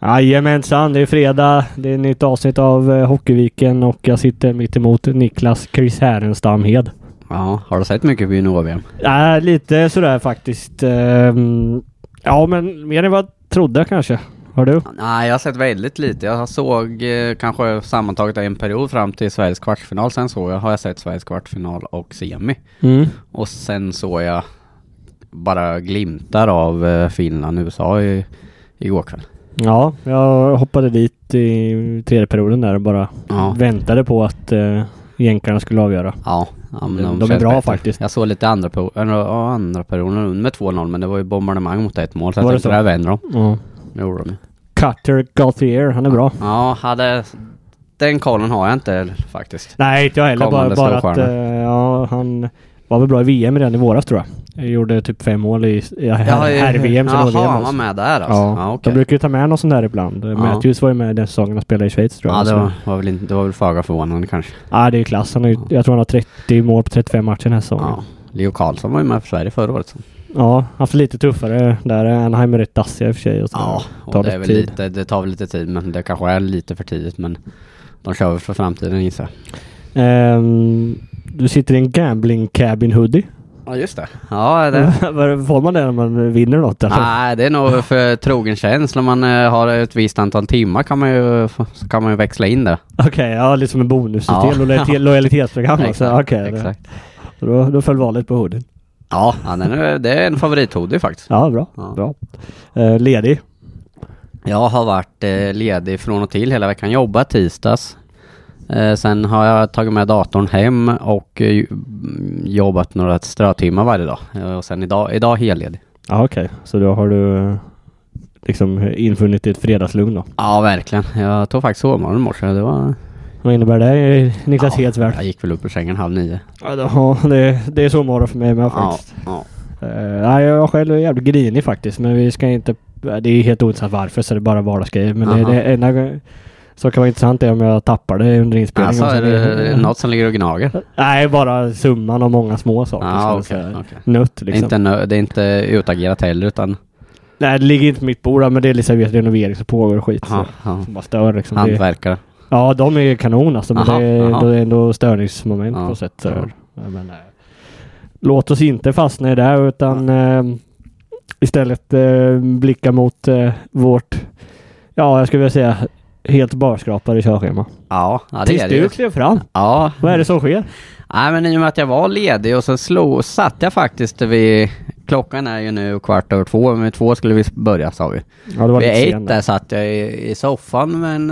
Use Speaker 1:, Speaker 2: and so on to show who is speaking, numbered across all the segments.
Speaker 1: Jajamensan, det är fredag. Det är ett nytt avsnitt av eh, Hockeyviken och jag sitter mitt emot Niklas Chris Härenstamhed.
Speaker 2: Ja, har du sett mycket på junior-VM?
Speaker 1: Äh, lite sådär faktiskt. Ehm, ja, men mer än vad jag trodde kanske. Har du?
Speaker 2: Nej, jag har sett väldigt lite. Jag såg eh, kanske sammantaget en period fram till Sveriges kvartsfinal. Sen såg jag, har jag sett Sveriges kvartsfinal och semi.
Speaker 1: Mm.
Speaker 2: Och sen såg jag bara glimtar av eh, Finland, USA i, igår kväll.
Speaker 1: Ja, jag hoppade dit i tredje perioden där och bara
Speaker 2: Ja,
Speaker 1: väntade på att eh, jänkarna skulle avgöra.
Speaker 2: ja, ja men
Speaker 1: De- de är
Speaker 2: känns
Speaker 1: bra faktiskt.
Speaker 2: Jag såg lite andra, po- eller, ja, andra perioden under med 2-0, men det var ju bombardemang mot ett mål. Så jag
Speaker 1: Var det
Speaker 2: tänkte,
Speaker 1: så?
Speaker 2: där vänder de.
Speaker 1: Ja.
Speaker 2: Det gjorde de ju.
Speaker 1: Cutter Gauthier, han är bra.
Speaker 2: Ja, hade... Den kollen har jag inte faktiskt.
Speaker 1: Nej, inte jag heller. Bara,
Speaker 2: Kommande
Speaker 1: bara att
Speaker 2: storstjärna.
Speaker 1: eh, ja, han var väl bra i VM redan i våras tror jag. Gjorde typ fem mål i i
Speaker 2: Ja, i-
Speaker 1: här- herr-VM. som
Speaker 2: Jaha,
Speaker 1: var VM
Speaker 2: han var
Speaker 1: alltså.
Speaker 2: med där alltså?
Speaker 1: Ja,
Speaker 2: Ja, okej.
Speaker 1: de brukar ju ta med någon sån där ibland. Matthews var ju med den säsongen och spelade i Schweiz tror jag.
Speaker 2: Ja, det
Speaker 1: Så-
Speaker 2: var, var väl inte, det var väl föga förvånande kanske.
Speaker 1: ja, det är ju klass. Han har ju, jag tror han har 30 mål på 35 matcher den här säsongen. Ja,
Speaker 2: Ja. Leo Karlsson var ju med för Sverige förra året. Så.
Speaker 1: haft lite tuffare där. Anaheim är rätt dassiga i och för sig. Och sådär.
Speaker 2: och
Speaker 1: Tar
Speaker 2: det,
Speaker 1: lite
Speaker 2: är väl
Speaker 1: tid.
Speaker 2: lite, det tar väl lite tid, men det kanske är lite för tidigt. Men de kör väl för framtiden gissar jag.
Speaker 1: Ehm, du sitter i en gambling cabin hoodie.
Speaker 2: Ja, just det. Ja, det.
Speaker 1: Får man det när man vinner något? eller?
Speaker 2: Nej, det är nog för trogen tjänst. När man eh, har ett visst antal timmar kan man ju, så kan man ju växla in det.
Speaker 1: Okej, ja lite som en bonus
Speaker 2: Ja.
Speaker 1: till lojalitet, lojalitetsprogram alltså. Okej, det-
Speaker 2: exakt.
Speaker 1: då, då föll valet på hoodien.
Speaker 2: Ja, ja den är, det är en favorithoodie faktiskt.
Speaker 1: Ja, bra.
Speaker 2: Ja.
Speaker 1: bra. Eh, ledig.
Speaker 2: Jag har varit eh, ledig från och till hela veckan. Jobbat tisdags. Eh, sen har jag tagit med datorn hem och eh, ju- mm, jobbat några strötimmar varje dag. Eh, och sen idag, idag helledig.
Speaker 1: Ja, okej. Så då har du eh, liksom infunnit ditt fredagslugn då.
Speaker 2: Ja, verkligen. Jag tog faktiskt sovmorgon i morse. Det var...
Speaker 1: Vad innebär det i Niklas
Speaker 2: ja,
Speaker 1: Heds värld?
Speaker 2: Jag gick väl upp ur sängen halv nio.
Speaker 1: Ja, då- det, det är så morgon för mig med faktiskt.
Speaker 2: ja.
Speaker 1: Eh, nej, jag själv är jävligt grinig faktiskt. Men vi ska inte... eh, Det är helt ointressant varför så det är bara vardagsgrejer. Men det,
Speaker 2: Aha.
Speaker 1: det enda g- som kan vara intressant är om jag tappar det under inspelningen.
Speaker 2: Alltså,
Speaker 1: Och
Speaker 2: är
Speaker 1: sen
Speaker 2: det något som ligger och gnager?
Speaker 1: Nej, bara summan av många små saker.
Speaker 2: Ja,
Speaker 1: som
Speaker 2: okej.
Speaker 1: är så här
Speaker 2: okej.
Speaker 1: Nött
Speaker 2: Det är
Speaker 1: liksom.
Speaker 2: inte nö- Det är inte utagerat heller utan...
Speaker 1: Nej, det ligger inte på mitt bord där, men det är liksom vet, renovering som pågår och skit.
Speaker 2: Ja,
Speaker 1: Så,
Speaker 2: ja.
Speaker 1: Alltså, som bara stör liksom. Det,
Speaker 2: Hantverkare.
Speaker 1: ja, de är ju kanon alltså. Men
Speaker 2: Aha,
Speaker 1: det, är,
Speaker 2: aha.
Speaker 1: då är det ändå störningsmoment
Speaker 2: Ja,
Speaker 1: på sätt. Så.
Speaker 2: ja.
Speaker 1: Ja, men, eh, låt oss inte fastna i det utan eh, istället eh, blicka mot eh, vårt, ja jag skulle vilja säga helt barskrapade körschema.
Speaker 2: Ja, ja, det
Speaker 1: Tills
Speaker 2: är det ju.
Speaker 1: du klev fram.
Speaker 2: Ja,
Speaker 1: Vad är det som sker?
Speaker 2: Nej men i och med att jag var ledig och sen slog, satt jag faktiskt vid Klockan är ju nu kvart över två, men två skulle vi börja sa vi.
Speaker 1: Ja, det var
Speaker 2: Vid
Speaker 1: lite
Speaker 2: ett
Speaker 1: sent.
Speaker 2: där satt jag i, i soffan med en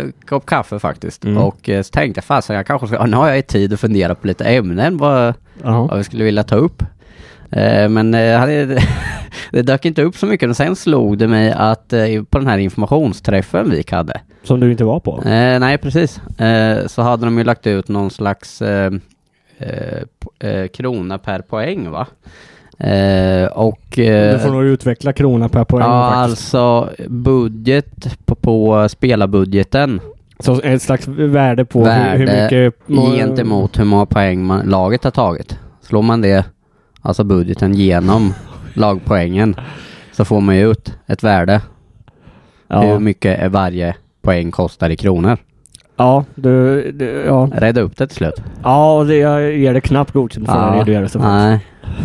Speaker 2: eh, kopp kaffe faktiskt.
Speaker 1: Mm.
Speaker 2: Och eh, så tänkte jag fasen jag kanske ska, ja, nu har jag ju tid att fundera på lite ämnen vad,
Speaker 1: Ja.
Speaker 2: vad vi skulle vilja ta upp. Eh, men eh, jag hade, det dök inte upp så mycket och sen slog det mig att eh, på den här informationsträffen vi hade.
Speaker 1: Som du inte var på.
Speaker 2: Eh, nej, precis. Eh, så hade de ju lagt ut någon slags eh, eh, po- eh, krona per poäng va? Eh, och... eh,
Speaker 1: Du får nog utveckla krona per poäng
Speaker 2: ja,
Speaker 1: faktiskt.
Speaker 2: alltså budget på, på spelarbudgeten
Speaker 1: Så ett slags värde på hur- hur
Speaker 2: Värde
Speaker 1: mycket... må-
Speaker 2: gentemot hur många poäng man, laget har tagit. Slår man det, alltså budgeten genom lagpoängen, så får man ju ut ett värde. Hur
Speaker 1: Ja,
Speaker 2: mycket är varje poäng kostar i kronor.
Speaker 1: ja du... du ja.
Speaker 2: Rädda upp det till slut.
Speaker 1: Ja, och det, jag ger det knappt godkänt för den redogörelsen. faktiskt.
Speaker 2: Nej.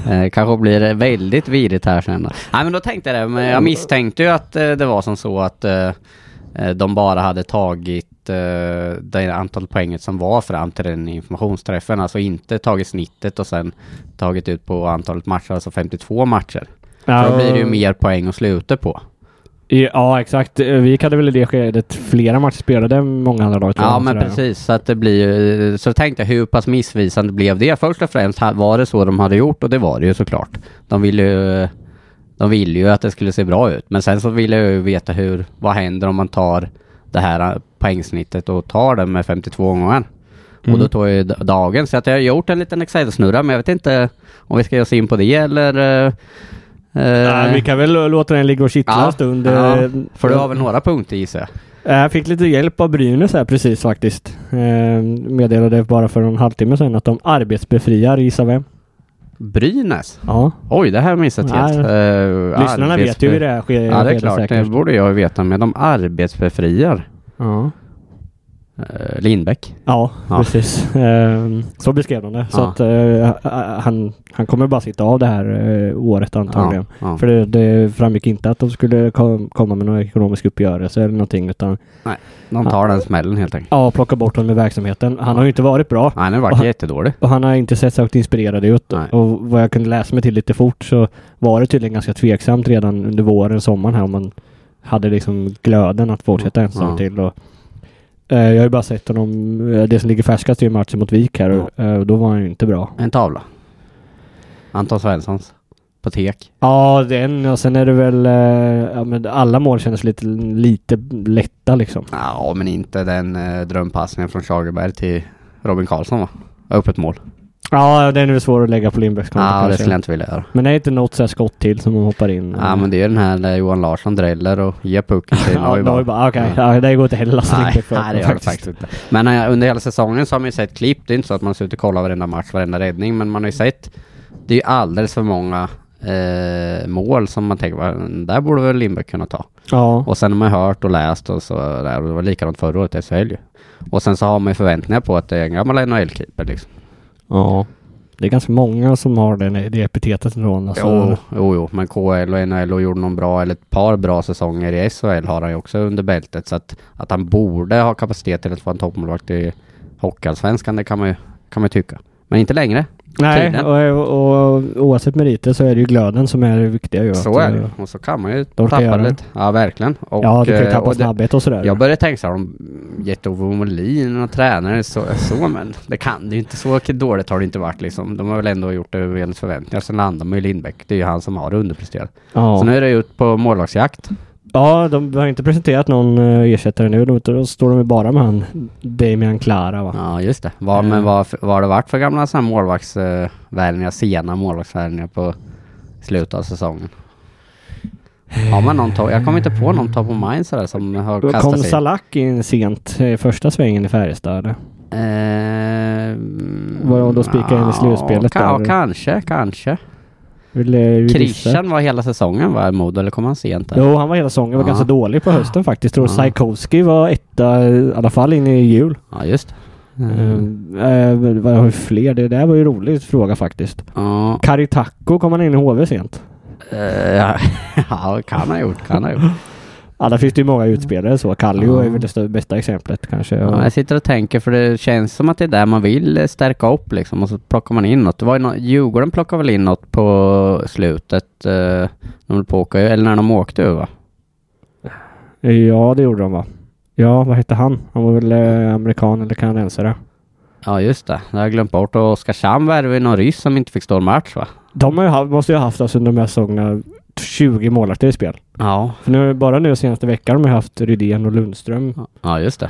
Speaker 2: Eh, kanske blir det väldigt virrigt här sen då. Nej men då tänkte jag det, men jag misstänkte ju att eh, det var som så att eh, eh, de bara hade tagit eh, det antal poänget som var fram till den informationsträffen. Alltså inte tagit snittet och sen tagit ut på antalet matcher, alltså 52 matcher.
Speaker 1: Ja,
Speaker 2: Då blir det ju mer poäng att sluta på.
Speaker 1: Ja, exakt. Vi hade väl i det skedet flera matcher spelade många andra lag. tror
Speaker 2: Ja
Speaker 1: jag,
Speaker 2: men
Speaker 1: sådär.
Speaker 2: precis, så att det blir ju- så tänkte jag hur pass missvisande blev det? Först och främst ha- var det så de hade gjort och det var det ju såklart. De ville ju, de ville ju att det skulle se bra ut. Men sen så ville jag ju veta hur, vad händer om man tar det här eh, poängsnittet och tar det med 52 gånger?
Speaker 1: Mm.
Speaker 2: Och då tog jag ju d- dagen, så att jag har gjort en liten Excel-snurra men jag vet inte om vi ska ge oss in på det eller... eh,
Speaker 1: Nej,
Speaker 2: eh,
Speaker 1: vi kan väl låta den ligga och kittla
Speaker 2: Ja,
Speaker 1: en stund.
Speaker 2: ja,
Speaker 1: Eh,
Speaker 2: för du har väl några punkter gissar jag?
Speaker 1: Jag fick lite hjälp av Brynäs här precis faktiskt. Eh, Meddelade bara för en halvtimme sedan att de arbetsbefriar, gissa vem?
Speaker 2: Brynäs?
Speaker 1: Ja.
Speaker 2: Oj, det här har jag missat
Speaker 1: Nej.
Speaker 2: helt. Uh,
Speaker 1: Lyssnarna vet ju hur det är. sker
Speaker 2: Ja, det är
Speaker 1: redan
Speaker 2: klart.
Speaker 1: säkert.
Speaker 2: Det borde jag ju veta med. De arbetsbefriar
Speaker 1: Ja.
Speaker 2: eh, Lindbäck.
Speaker 1: Ja,
Speaker 2: Ja.
Speaker 1: precis. Ehm, Så beskrev de det. Så
Speaker 2: Ja.
Speaker 1: att eh, han, han kommer bara sitta av det här eh, året antagligen.
Speaker 2: ja.
Speaker 1: För det, det framgick inte att de skulle kom- komma med någon ekonomisk uppgörelse eller någonting utan
Speaker 2: De tar den smällen helt enkelt.
Speaker 1: ja, plocka bort honom ur verksamheten. Han har ju inte varit bra
Speaker 2: Nej, nu vart
Speaker 1: Och-
Speaker 2: jag jättedålig.
Speaker 1: och han har inte sett särskilt inspirerad ut.
Speaker 2: Nej.
Speaker 1: Och vad jag kunde läsa mig till lite fort så var det tydligen ganska tveksamt redan under våren, sommaren här om man hade liksom glöden att fortsätta en säsong
Speaker 2: Ja.
Speaker 1: till. Och, eh, jag har ju bara sett honom, eh, det som ligger färskast är ju matchen mot Vik här och eh, då var han ju inte bra.
Speaker 2: En tavla. Anton Svenssons. På tek.
Speaker 1: Ja, den och sen är det väl... eh, Ja, men alla mål kändes lite, lite lätta liksom.
Speaker 2: Ja, men inte den eh, drömpassningen från Schagerberg till Robin Karlsson va? Öppet mål.
Speaker 1: Ja, den är väl svår att lägga på Lindbäcks konto
Speaker 2: Ja, det
Speaker 1: kanske.
Speaker 2: skulle jag inte vilja göra.
Speaker 1: Men det är inte något så här skott till som hon hoppar in?
Speaker 2: Ja, men det är ju den här där Johan Larsson dräller och ger pucken till
Speaker 1: Ja,
Speaker 2: Neumann.
Speaker 1: Neumann. Okej, ja, det går inte heller att lasta
Speaker 2: Nej,
Speaker 1: Lindbäck för.
Speaker 2: nej, det gör det faktiskt inte. Men eh, under hela säsongen så har man ju sett klipp. Det är inte så att man har suttit och kollat varenda match, varenda räddning. Men man har ju sett. Det är ju alldeles för många eh, mål som man tänker, "Va, den där borde väl Lindbäck kunna ta.
Speaker 1: Ja.
Speaker 2: Och sen har man hört och läst och så där. Och det var likadant förra året i SHL ju. Och sen så har man ju förväntningar på att det är en gammal NHL-keeper liksom.
Speaker 1: ja. Det är ganska många som har den, det epitetet från. Alltså.
Speaker 2: Jo, jo, jo, men KL och NHL och gjorde någon bra, eller ett par bra säsonger i SHL har han ju också under bältet. Så att, att han borde ha kapacitet till att vara en toppmålvakt i Hockeyallsvenskan, det kan man ju, kan man ju tycka. Men inte längre.
Speaker 1: Nej,
Speaker 2: tydligen.
Speaker 1: och, och, och oavsett meriter så är det ju glöden som är det viktiga. Ju,
Speaker 2: Så
Speaker 1: att,
Speaker 2: är
Speaker 1: eh,
Speaker 2: det. Och så kan man ju
Speaker 1: kan
Speaker 2: tappa
Speaker 1: göra det.
Speaker 2: lite. Ja, verkligen. Och,
Speaker 1: ja, du kan ju
Speaker 2: eh,
Speaker 1: tappa
Speaker 2: och det-
Speaker 1: snabbhet och sådär.
Speaker 2: Jag började tänka så här om Gert-Ove Molin och tränare så, så men det kan det ju inte. Så dåligt har det inte varit liksom. De har väl ändå gjort det över ens förväntningar. Sen landar man ju i Lindbäck. Det är ju han som har underpresterat.
Speaker 1: ja.
Speaker 2: Så nu är det ut på målvaktsjakt.
Speaker 1: Ja, de har inte presenterat någon eh, ersättare nu. Då- Då står de ju bara med han Damian Clara va?
Speaker 2: Ja, just det. Vad,
Speaker 1: Mm.
Speaker 2: Men vad vad har det varit för gamla sådana här målvaktsvärvningar, sena målvaktsvärvningar på slutet av säsongen? Har man någon top, Jag kommer inte på någon top of mind sådär som har
Speaker 1: Då
Speaker 2: kastat
Speaker 1: Kom
Speaker 2: sig.
Speaker 1: Salak in sent eh, i första svängen i Färjestad? eller?
Speaker 2: Ehm,
Speaker 1: Var de då spikade in i slutspelet
Speaker 2: Ja,
Speaker 1: där?
Speaker 2: ka- kanske, kanske.
Speaker 1: Vill, eh, vill gissa?
Speaker 2: Christian var hela säsongen var i Modo, eller kom han sent? Där?
Speaker 1: Jo, han var hela säsongen. var
Speaker 2: Ja.
Speaker 1: ganska dålig på hösten faktiskt. Tror
Speaker 2: Ja.
Speaker 1: Sajkovski var etta eh, i alla fall in i jul.
Speaker 2: Ja, just det. Mm.
Speaker 1: Mm. Eh, vad har vi fler? Det där var ju en rolig fråga faktiskt.
Speaker 2: Ja,
Speaker 1: Karitako kom han in i HV sent.
Speaker 2: eh, ja, ja, kan ha gjort, kan ha gjort.
Speaker 1: Ja, där finns det ju många utspelare så. Kallio
Speaker 2: Mm. Ja.
Speaker 1: är väl det stö- bästa exemplet kanske.
Speaker 2: Ja, jag sitter och tänker för det känns som att det är där man vill eh, stärka upp liksom och så plockar man in något. Det var ju nå- Djurgården plockade väl in något på slutet. Eh, när de höll på att åka, eller när de åkte ur va?
Speaker 1: Ja, det gjorde de va? Ja, vad hette han? Han var väl eh, amerikan eller kanadensare.
Speaker 2: Ja just det, det har jag glömt bort. Och Oskarshamn värvade ju någon ryss som inte fick stå en match va?
Speaker 1: De har ju haft, måste ju ha haft alltså under de här säsongerna 20 målvakter i spel.
Speaker 2: Ja,
Speaker 1: För nu, bara nu senaste veckan har de haft Rydén och Lundström.
Speaker 2: ja just det.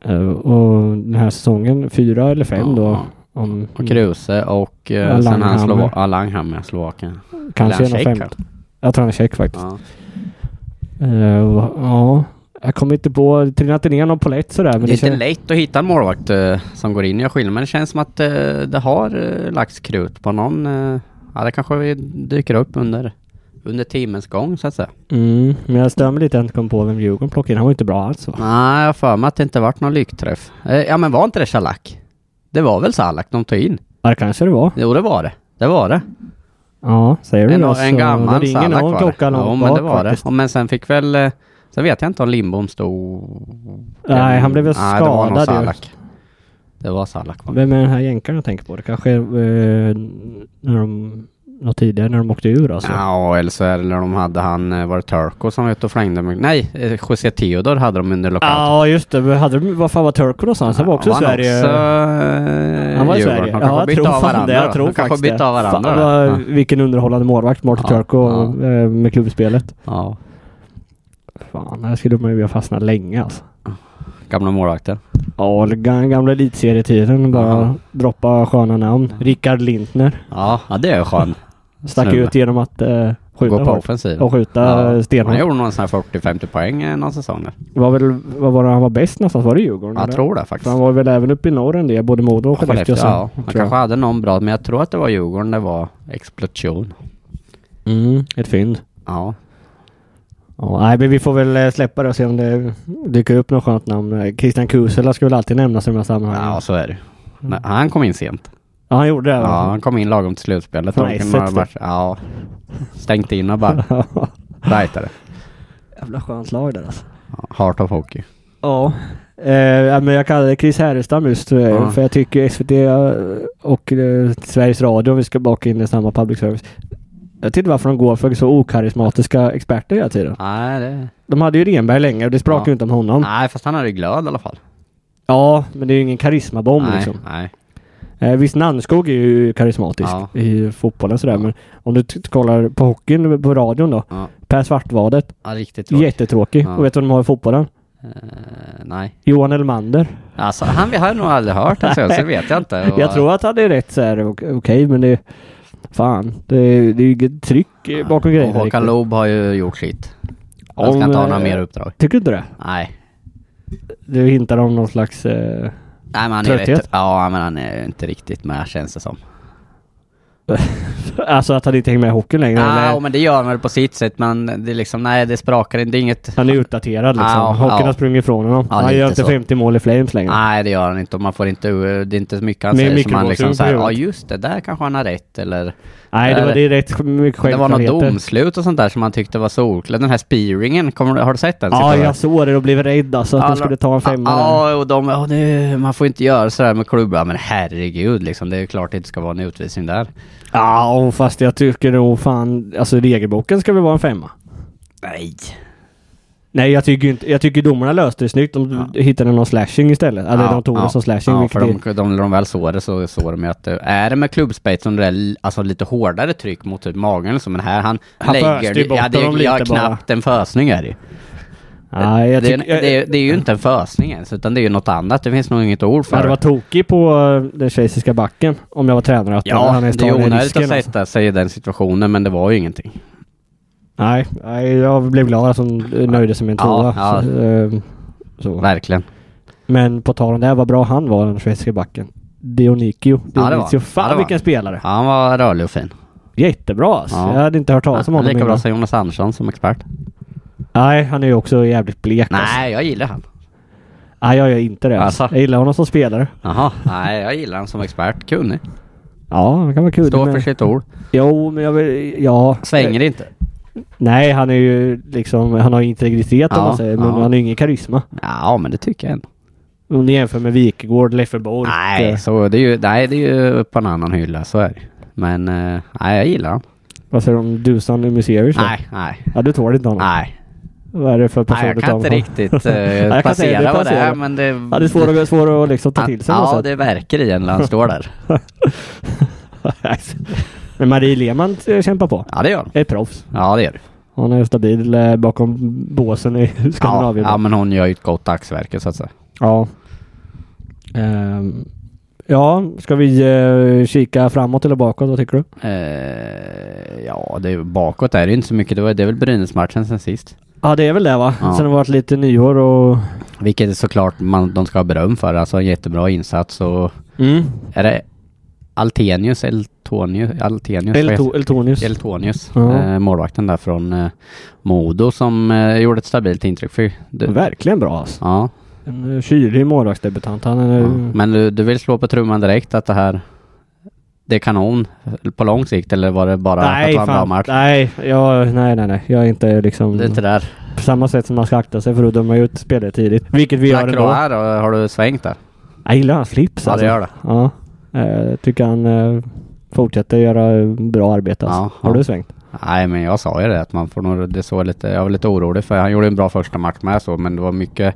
Speaker 1: Eh, och den här säsongen, fyra eller fem
Speaker 2: ja,
Speaker 1: då.
Speaker 2: ja.
Speaker 1: Om,
Speaker 2: Och Kruse och eh,
Speaker 1: Ja,
Speaker 2: sen han
Speaker 1: Langhammer.
Speaker 2: Slova- ja, Langhammer, Slovakien.
Speaker 1: kanske
Speaker 2: Eller
Speaker 1: en
Speaker 2: han
Speaker 1: fem.
Speaker 2: tjeck, kanske.
Speaker 1: Jag tror han är tjeck faktiskt.
Speaker 2: Ja.
Speaker 1: Eh, och- ja, jag kommer inte på, det trillade inte ner någon polett sådär. Men
Speaker 2: det är
Speaker 1: det
Speaker 2: inte
Speaker 1: känns,
Speaker 2: lätt att hitta en målvakt eh, som går in och gör skillnad, men det känns som att eh, det har eh, lagts krut på någon. Eh, ja, det kanske vi dyker upp under, under timmens gång så att säga.
Speaker 1: mm, men jag stör mig lite att jag inte kom på vem Djurgården plockade in. Han var ju inte bra alls va?
Speaker 2: Nej, jag har för mig att det inte varit någon lyckträff. Eh, ja, men var inte det Salak? Det var väl Salak de tog in?
Speaker 1: Ja, det kanske det var.
Speaker 2: Jo, det var det. Det var det.
Speaker 1: Ja, säger du
Speaker 2: En,
Speaker 1: det
Speaker 2: en
Speaker 1: Då
Speaker 2: gammal
Speaker 1: ringer
Speaker 2: Salak
Speaker 1: någon
Speaker 2: var det.
Speaker 1: klocka långt
Speaker 2: Jo, men det
Speaker 1: bak
Speaker 2: var det.
Speaker 1: faktiskt.
Speaker 2: Och, men sen fick väl... eh, Sen vet jag inte om Lindbom stod...
Speaker 1: Nej, han blev väl
Speaker 2: Nej, det var nog
Speaker 1: skadad ju.
Speaker 2: Salak. Det var Salak va?
Speaker 1: Vem är den här jänkaren jag tänker på? Det kanske är eh, när de, något tidigare när de åkte ur alltså.
Speaker 2: Ja, eller så är det när de hade han, eh, var det Turco som var ute och flängde med... Nej, eh, José Theodor hade de under lockouten.
Speaker 1: Ja, just det. Men Hade de, vad fan var Turko någonstans? Han var också i Sverige.
Speaker 2: Också, eh,
Speaker 1: Han var i
Speaker 2: Djurgården.
Speaker 1: Sverige.
Speaker 2: De kanske
Speaker 1: Ja, jag
Speaker 2: bytte
Speaker 1: tror
Speaker 2: av
Speaker 1: fan det. Jag
Speaker 2: då.
Speaker 1: tror
Speaker 2: de kanske
Speaker 1: faktiskt
Speaker 2: bytte
Speaker 1: det.
Speaker 2: av varandra.
Speaker 1: Fan,
Speaker 2: då.
Speaker 1: vad,
Speaker 2: ja.
Speaker 1: Vilken underhållande målvakt Martin
Speaker 2: Ja,
Speaker 1: Turko
Speaker 2: ja.
Speaker 1: eh, med klubbspelet.
Speaker 2: ja,
Speaker 1: Fan, här skulle man ju ha fastnat länge alltså.
Speaker 2: gamla målvakten.
Speaker 1: Ja, eller gam- gamla elitserietiden. Bara
Speaker 2: Ja.
Speaker 1: droppa sköna namn. Rickard Lindner
Speaker 2: Ja, ja det är skön.
Speaker 1: stack
Speaker 2: Snubbe.
Speaker 1: ut genom att eh, skjuta
Speaker 2: Gå på
Speaker 1: hårt
Speaker 2: offensiven.
Speaker 1: och skjuta
Speaker 2: Ja. Han
Speaker 1: stenhårt.
Speaker 2: gjorde någon sån här 40-50 poäng eh, någon säsong. där.
Speaker 1: Det var väl, vad var det han var bäst någonstans? Var det Djurgården?
Speaker 2: Jag
Speaker 1: eller?
Speaker 2: tror det
Speaker 1: För
Speaker 2: faktiskt.
Speaker 1: han var väl även uppe i norr än det, både Modo och
Speaker 2: Ja,
Speaker 1: Skellefteå
Speaker 2: Skellefteå,
Speaker 1: sen.
Speaker 2: ja. Han
Speaker 1: tror jag.
Speaker 2: kanske hade någon bra, men jag tror att det var Djurgården det var explosion.
Speaker 1: Mm, ett fynd.
Speaker 2: Ja.
Speaker 1: Ja, nej, men vi får väl eh, släppa det och se om det dyker upp något skönt namn. Eh, Christian Kusela ska väl alltid nämnas i de här sammanhangen.
Speaker 2: ja, så är det.
Speaker 1: Mm.
Speaker 2: Men Han kom in sent.
Speaker 1: Ja, han gjorde det.
Speaker 2: Ja,
Speaker 1: va?
Speaker 2: han kom in lagom till slutspelet.
Speaker 1: Från
Speaker 2: De kunde
Speaker 1: Essex
Speaker 2: ha varit- Ja. Stängt in och bara rightade.
Speaker 1: Jävla skönt lag där alltså.
Speaker 2: Ja, Heart of Hockey.
Speaker 1: Ja. Eh, ja, men jag kallar det Chris Härenstam just eh,
Speaker 2: Ja.
Speaker 1: för jag tycker SVT och eh, Sveriges Radio, om vi ska baka in det i samma public service. Jag vet inte varför de går för så okarismatiska experter hela tiden.
Speaker 2: Nej, det...
Speaker 1: De hade ju Renberg länge och det sprakar
Speaker 2: Ja.
Speaker 1: ju inte om honom.
Speaker 2: Nej, fast han hade glöd i alla fall.
Speaker 1: Ja, men det är ju ingen karismabomb
Speaker 2: nej,
Speaker 1: liksom.
Speaker 2: nej.
Speaker 1: Eh, visst, Nannskog är ju karismatisk
Speaker 2: Ja.
Speaker 1: i fotbollen sådär, men om du t- kollar på hockeyn på radion då.
Speaker 2: Ja.
Speaker 1: Per Svartvadet,
Speaker 2: Ja, riktigt tråkigt.
Speaker 1: jättetråkig.
Speaker 2: Ja.
Speaker 1: Och vet du vad de har i fotbollen?
Speaker 2: Eh, nej.
Speaker 1: Johan Elmander.
Speaker 2: Alltså, han vi har nog aldrig hört den så, så vet jag inte. Och-
Speaker 1: Jag tror att han är rätt såhär ok- okej, men det... Fan, det, det är ju inget tryck eh, bakom
Speaker 2: Och
Speaker 1: grejerna
Speaker 2: Håkan
Speaker 1: riktigt.
Speaker 2: Loob har ju gjort sitt. Han
Speaker 1: Om,
Speaker 2: ska inte ha några
Speaker 1: eh,
Speaker 2: mer uppdrag.
Speaker 1: Tycker du inte det?
Speaker 2: Nej.
Speaker 1: Du hintar om någon slags... Eh,
Speaker 2: Nej men han är
Speaker 1: Trötthet?
Speaker 2: rätt, Ja men han är inte riktigt med känns det som.
Speaker 1: alltså att han inte hänger med i hockeyn längre.
Speaker 2: Ja
Speaker 1: eller,
Speaker 2: men det gör han väl på sitt sätt men det är liksom, nej det sprakar inte, det är inget...
Speaker 1: han är utdaterad liksom.
Speaker 2: Ja,
Speaker 1: hockeyn
Speaker 2: Ah, ja.
Speaker 1: har sprungit ifrån honom.
Speaker 2: Ja,
Speaker 1: han gör
Speaker 2: lite
Speaker 1: inte
Speaker 2: så. Ah.
Speaker 1: 50 mål i Flames längre.
Speaker 2: Nej det gör han inte och man får inte, det är inte så mycket han
Speaker 1: Mm. Med
Speaker 2: säger som han
Speaker 1: mikrovågsugn på
Speaker 2: liksom säger, ja
Speaker 1: huvudet."
Speaker 2: just det, där kanske han har rätt eller...
Speaker 1: Nej, det var det är rätt mycket
Speaker 2: Det var något
Speaker 1: självklarheter.
Speaker 2: domslut och sånt där som han tyckte var solklart. Den här spearingen, kommer, du- har du sett den?
Speaker 1: Ja,
Speaker 2: Sitter
Speaker 1: jag såg det och blev rädd alltså att de
Speaker 2: Alla-
Speaker 1: skulle ta en femma där.
Speaker 2: Ja, och de, ja, det, man får inte göra sådär med klubbar. Men herregud liksom, det är ju klart det inte ska vara en utvisning där.
Speaker 1: Ja, och fast jag tycker nog fan, alltså regelboken ska väl vara en femma?
Speaker 2: Nej.
Speaker 1: Nej, jag tycker ju inte, jag tycker domarna löste det snyggt. De hittade någon slashing istället. Eller de tog det som slashing.
Speaker 2: Ja, för
Speaker 1: vilket
Speaker 2: de, de, när de väl såg det så såg de ju att det, är det med klubbspets som det är l- alltså, lite hårdare tryck mot typ magen liksom, men här han,
Speaker 1: Han föste
Speaker 2: lägger
Speaker 1: ju
Speaker 2: det,
Speaker 1: bort
Speaker 2: ja, det,
Speaker 1: dem
Speaker 2: är- ja,
Speaker 1: lite bara.
Speaker 2: knappt en fösning är det ju.
Speaker 1: är, nej, jag
Speaker 2: det, är
Speaker 1: tycker...
Speaker 2: en- det, är- det är ju inte en fösning ens, utan det är ju något annat. Det finns nog inget ord
Speaker 1: jag
Speaker 2: för
Speaker 1: hade varit tokig på eh, den schweiziska backen om jag var tränare. Att
Speaker 2: Ja,
Speaker 1: han ens
Speaker 2: det är
Speaker 1: tar den
Speaker 2: onödigt att
Speaker 1: risken. Alltså.
Speaker 2: sätta sig i den situationen, men det var ju ingenting.
Speaker 1: Nej, nej, jag blev glad att de nöjde sig med en
Speaker 2: Ja,
Speaker 1: tvåa.
Speaker 2: ja.
Speaker 1: Så, eh, så.
Speaker 2: Verkligen.
Speaker 1: Men på tal om det, här, vad bra han var, den schweiziska backen. Dionikio.
Speaker 2: det var-
Speaker 1: Dionisio.
Speaker 2: ja,
Speaker 1: Fan
Speaker 2: det var.
Speaker 1: vilken spelare!
Speaker 2: Han var rörlig och fin.
Speaker 1: Jättebra alltså.
Speaker 2: Ja.
Speaker 1: Jag hade inte hört talas om
Speaker 2: Han är
Speaker 1: honom
Speaker 2: lika bra
Speaker 1: innan.
Speaker 2: som Jonas Andersson som expert.
Speaker 1: Nej, han är ju också jävligt blek Alltså.
Speaker 2: Nej, jag gillar han.
Speaker 1: Nej, jag gör inte det. Alltså.
Speaker 2: Alltså.
Speaker 1: Jag gillar honom som spelare.
Speaker 2: Jaha, nej jag gillar han som expert. Kunnig.
Speaker 1: Ja, det kan vara kul.
Speaker 2: Står
Speaker 1: men-
Speaker 2: för sitt ord.
Speaker 1: Jo, men jag vill... Ja.
Speaker 2: Svänger inte.
Speaker 1: Nej, han är ju liksom... Han har ju integritet om
Speaker 2: Ja,
Speaker 1: man säger. Men
Speaker 2: ja.
Speaker 1: han har ju ingen karisma.
Speaker 2: Ja, men det tycker jag ändå.
Speaker 1: Om ni jämför med Wikegård, Leffeborg.
Speaker 2: Nej,
Speaker 1: eh,
Speaker 2: så det är ju, nej, det är ju på en annan hylla, så är det Men eh, nej, jag gillar han.
Speaker 1: Vad säger du om Dusan i museer? så?
Speaker 2: Nej, nej,
Speaker 1: Ja, du tål inte honom.
Speaker 2: nej.
Speaker 1: Vad är det för person
Speaker 2: nej jag
Speaker 1: du
Speaker 2: kan
Speaker 1: tar
Speaker 2: inte
Speaker 1: honom?
Speaker 2: riktigt
Speaker 1: jag
Speaker 2: eh,
Speaker 1: kan säga det,
Speaker 2: placera vad det
Speaker 1: placera.
Speaker 2: är, men det...
Speaker 1: Ja, det är svårt att, svår att liksom ta till sig. på något
Speaker 2: Ja,
Speaker 1: sätt.
Speaker 2: det verkar i en när han står där.
Speaker 1: men Marie Lehmann eh, kämpar på.
Speaker 2: Ja, det gör han.
Speaker 1: Är proffs.
Speaker 2: Ja, det gör det.
Speaker 1: Hon är stabil eh, bakom båsen i
Speaker 2: Ja,
Speaker 1: Skandinavien.
Speaker 2: ja, men hon gör ju ett gott dagsverke, så att säga.
Speaker 1: Ja. Ehm, ja, ska vi eh, kika framåt eller bakåt? Vad tycker du?
Speaker 2: Eh, ja, det, är- bakåt är det ju inte så mycket. Det, var, det är väl Brynäs-matchen sen sist.
Speaker 1: Ja, det är väl det va?
Speaker 2: Ja.
Speaker 1: Sen har det varit lite nyår och...
Speaker 2: Vilket är såklart man, de ska ha beröm för. Alltså en jättebra insats och...
Speaker 1: Mm.
Speaker 2: Är det Altenius, Eltonius? Altenius? vad heter-
Speaker 1: Elto- Eltonius.
Speaker 2: Eltonius.
Speaker 1: Ja.
Speaker 2: Eh, målvakten där från eh, Modo som eh, gjorde ett stabilt intryck. För, du,
Speaker 1: Verkligen bra alltså.
Speaker 2: ja,
Speaker 1: En eh, kylig målvaktsdebutant. Han är...
Speaker 2: ja.
Speaker 1: Ja.
Speaker 2: Men du, du vill slå på trumman direkt att det här... Det är kanon på lång sikt eller var det bara att
Speaker 1: Nej,
Speaker 2: det var en bra
Speaker 1: fan.
Speaker 2: match?
Speaker 1: Nej, ja, nej, nej, nej. Jag är inte liksom...
Speaker 2: Det är inte där.
Speaker 1: På samma sätt som man ska akta sig för att döma ut spelare tidigt. Vilket vi gör ändå.
Speaker 2: Lacroix, då, har du svängt där?
Speaker 1: Jag gillar hans slips
Speaker 2: Ja, det
Speaker 1: alltså.
Speaker 2: gör det.
Speaker 1: Ja. Eh, tycker han eh, fortsätter göra eh, bra arbete alltså.
Speaker 2: Ja,
Speaker 1: Har
Speaker 2: ja.
Speaker 1: du svängt?
Speaker 2: Nej, men jag sa ju det att man får nog, det såg lite, jag var lite orolig för han gjorde en bra första match med så, men det var mycket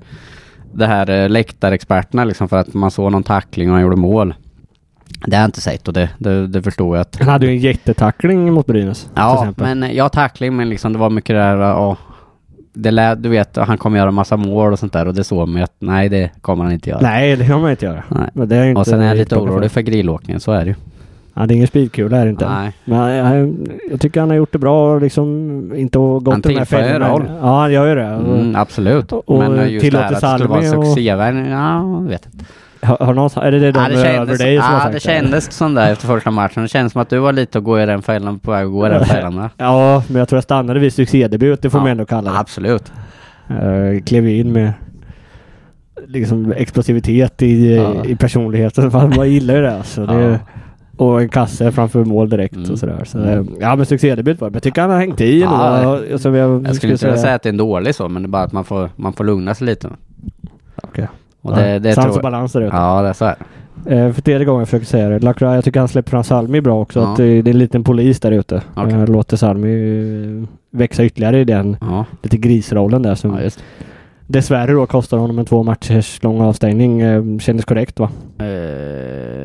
Speaker 2: det här eh, läktarexperterna liksom för att man såg någon tackling och han gjorde mål. Det har jag inte sett och det, det, det förstår jag att
Speaker 1: Han hade ju en jättetackling mot Brynäs. till
Speaker 2: Ja,
Speaker 1: exempel.
Speaker 2: men eh, ja tackling, men liksom det var mycket det här, ja. Det lät, du vet, han kommer göra massa mål och sånt där och det såg man ju att nej, det kommer han inte göra.
Speaker 1: Nej, det kan man inte göra.
Speaker 2: Nej.
Speaker 1: Men det är ju inte
Speaker 2: och sen är jag lite
Speaker 1: plocka
Speaker 2: orolig
Speaker 1: för.
Speaker 2: för grillåkningen, så är det ju.
Speaker 1: Ja, det är ingen speedkula är det inte.
Speaker 2: Nej.
Speaker 1: Men eh, jag, jag tycker han har gjort det bra och liksom inte gått
Speaker 2: Han
Speaker 1: de här
Speaker 2: tillför ju
Speaker 1: fällorna.
Speaker 2: roll.
Speaker 1: Ja, han gör ju det.
Speaker 2: Mm, absolut.
Speaker 1: och
Speaker 2: Men eh, just det här att det skulle vara en
Speaker 1: tillåter Salmi och-
Speaker 2: succévärvning, ja, jag vet inte.
Speaker 1: Har, har någon, sa- är det det de
Speaker 2: Ja, det
Speaker 1: över
Speaker 2: kändes,
Speaker 1: dig som har
Speaker 2: ja,
Speaker 1: sagt
Speaker 2: det kändes som det efter första matchen. Det kändes som att du var lite att gå i den fällan, på väg att gå i den fällan. va?
Speaker 1: Ja, men jag tror jag stannade vid succédebut. Det får
Speaker 2: Ja.
Speaker 1: man ändå kalla det.
Speaker 2: Absolut.
Speaker 1: Eh, klev ju in med liksom explosivitet i,
Speaker 2: Ja.
Speaker 1: i personligheten. Man, man gillar ju det alltså. Det,
Speaker 2: Ja.
Speaker 1: Och en kasse framför mål direkt
Speaker 2: Mm.
Speaker 1: och sådär. Så, eh, ja men succédebut var det. Men jag tycker han har hängt i ändå.
Speaker 2: Ja,
Speaker 1: Och- och som jag,
Speaker 2: Jag skulle inte säga. att det är en dålig så, men det är bara att man får, man får lugna sig lite.
Speaker 1: Okej.
Speaker 2: Och det, det
Speaker 1: Sans och
Speaker 2: tror jag.
Speaker 1: balans där ute.
Speaker 2: Ja, det är så här.
Speaker 1: Eh, för tredje gången försöker jag säga det. Lacroix, jag tycker han släpper fram Salmi bra också.
Speaker 2: Ja.
Speaker 1: Att eh, det är en liten polis där ute.
Speaker 2: Okej.
Speaker 1: Eh, låter Salmi eh, växa ytterligare i den
Speaker 2: Ja,
Speaker 1: lite grisrollen där som
Speaker 2: ja just
Speaker 1: dessvärre då kostar honom en två matchers lång avstängning. Eh, kändes korrekt va?
Speaker 2: det. Uh,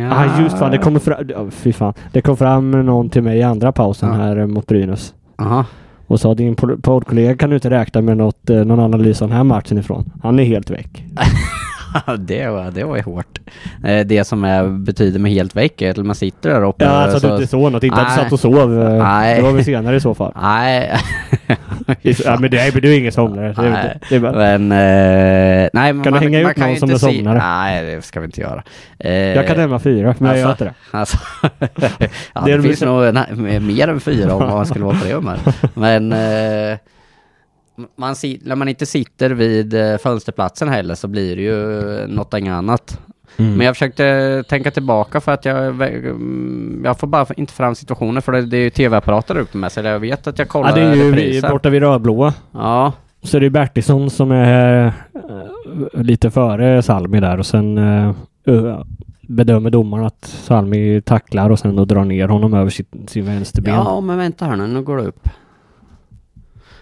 Speaker 1: Ja ah, just fan, det kommer fram... ja, fy fan. Det kom fram någon till mig i andra pausen
Speaker 2: Ja.
Speaker 1: här eh, mot Brynäs.
Speaker 2: Aha.
Speaker 1: Och sa din pol- poddkollega kan du inte räkna med något, eh, någon analys av den här matchen ifrån. Han är helt väck.
Speaker 2: Ja, det var, det var ju hårt. Eh, Det som är, betyder med helt väck är att man sitter där uppe.
Speaker 1: Ja, alltså att du inte såg något. Inte att du
Speaker 2: Nej.
Speaker 1: satt och sov. eh,
Speaker 2: Nej.
Speaker 1: Det var väl senare i så fall.
Speaker 2: Nej.
Speaker 1: Ja, men det är, du är ingen somnare. Det är,
Speaker 2: Nej.
Speaker 1: inte- det är bara,
Speaker 2: Men, eh, nej,
Speaker 1: Kan
Speaker 2: men
Speaker 1: du
Speaker 2: man,
Speaker 1: hänga
Speaker 2: man
Speaker 1: ut
Speaker 2: kan
Speaker 1: någon
Speaker 2: ju
Speaker 1: som
Speaker 2: inte
Speaker 1: är
Speaker 2: se-
Speaker 1: somnare?
Speaker 2: Nej, det ska vi inte göra. Eh,
Speaker 1: jag kan nämna fyra, men jag gör
Speaker 2: alltså-
Speaker 1: inte det.
Speaker 2: Alltså, ja,
Speaker 1: Det
Speaker 2: det,
Speaker 1: är de
Speaker 2: finns
Speaker 1: som-
Speaker 2: nog na- mer än fyra om man skulle vara på det humöret. Men eh, man, si- när man inte sitter vid eh, fönsterplatsen heller så blir det ju något annat.
Speaker 1: Mm.
Speaker 2: Men jag försökte tänka tillbaka för att jag, vä- mm, jag får bara inte fram situationer för det, det är ju tv-apparater där ute med sig. Jag vet att jag kollar
Speaker 1: ja, det är ju vi,
Speaker 2: repriser.
Speaker 1: borta vid Rödblåa.
Speaker 2: Ja,
Speaker 1: Så det är Bertilsson som är eh, lite före Salmi där och sen eh, ö- bedömer domaren att Salmi tacklar och sen då drar ner honom över sitt, sin vänsterben.
Speaker 2: Ja, men vänta här nu, nu går det upp.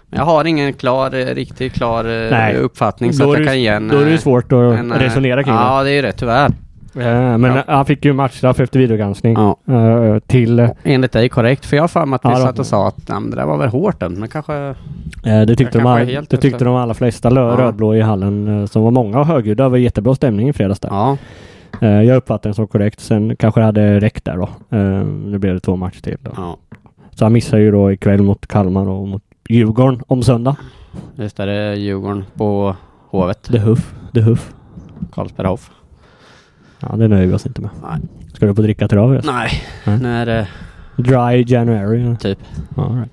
Speaker 2: Men jag har ingen klar, eh, riktigt klar eh,
Speaker 1: Nej.
Speaker 2: uppfattning så
Speaker 1: Då,
Speaker 2: att
Speaker 1: är
Speaker 2: jag
Speaker 1: det,
Speaker 2: kan
Speaker 1: ju-
Speaker 2: ge en...
Speaker 1: då är det ju
Speaker 2: eh,
Speaker 1: svårt att
Speaker 2: en, eh,
Speaker 1: resonera kring
Speaker 2: Ja, det är ju det, tyvärr.
Speaker 1: det. Eh, Men
Speaker 2: ja.
Speaker 1: han fick ju matchstraff efter videogranskning.
Speaker 2: Ja.
Speaker 1: eh, Till, eh,
Speaker 2: Enligt dig korrekt, för jag har för mig att vi
Speaker 1: Ja, då.
Speaker 2: satt och sa att "Nej, men det där var väl hårt dömt, men kanske...
Speaker 1: det tyckte,
Speaker 2: Jag
Speaker 1: de,
Speaker 2: kanske
Speaker 1: all,
Speaker 2: är helt
Speaker 1: det tyckte
Speaker 2: ute.
Speaker 1: de allra flesta
Speaker 2: Ja.
Speaker 1: lö- rödblå i hallen eh, som var många och högljudda. Det var jättebra stämning i fredags där.
Speaker 2: Ja.
Speaker 1: Eh, Jag uppfattade den som korrekt. Sen kanske det hade räckt där då. Eh, Nu blev det två matcher till. Då.
Speaker 2: ja.
Speaker 1: Så han missar ju då ikväll mot Kalmar och mot Djurgården om söndag.
Speaker 2: Just där är Djurgården på Hovet,
Speaker 1: The Huff. The Huff.
Speaker 2: Karlsberg Hof.
Speaker 1: Ja, det nöjer vi oss inte med.
Speaker 2: Nej.
Speaker 1: Ska du på dricka till över?
Speaker 2: Nej,
Speaker 1: Nej.
Speaker 2: när... eh,
Speaker 1: Dry January.
Speaker 2: Typ.
Speaker 1: All right.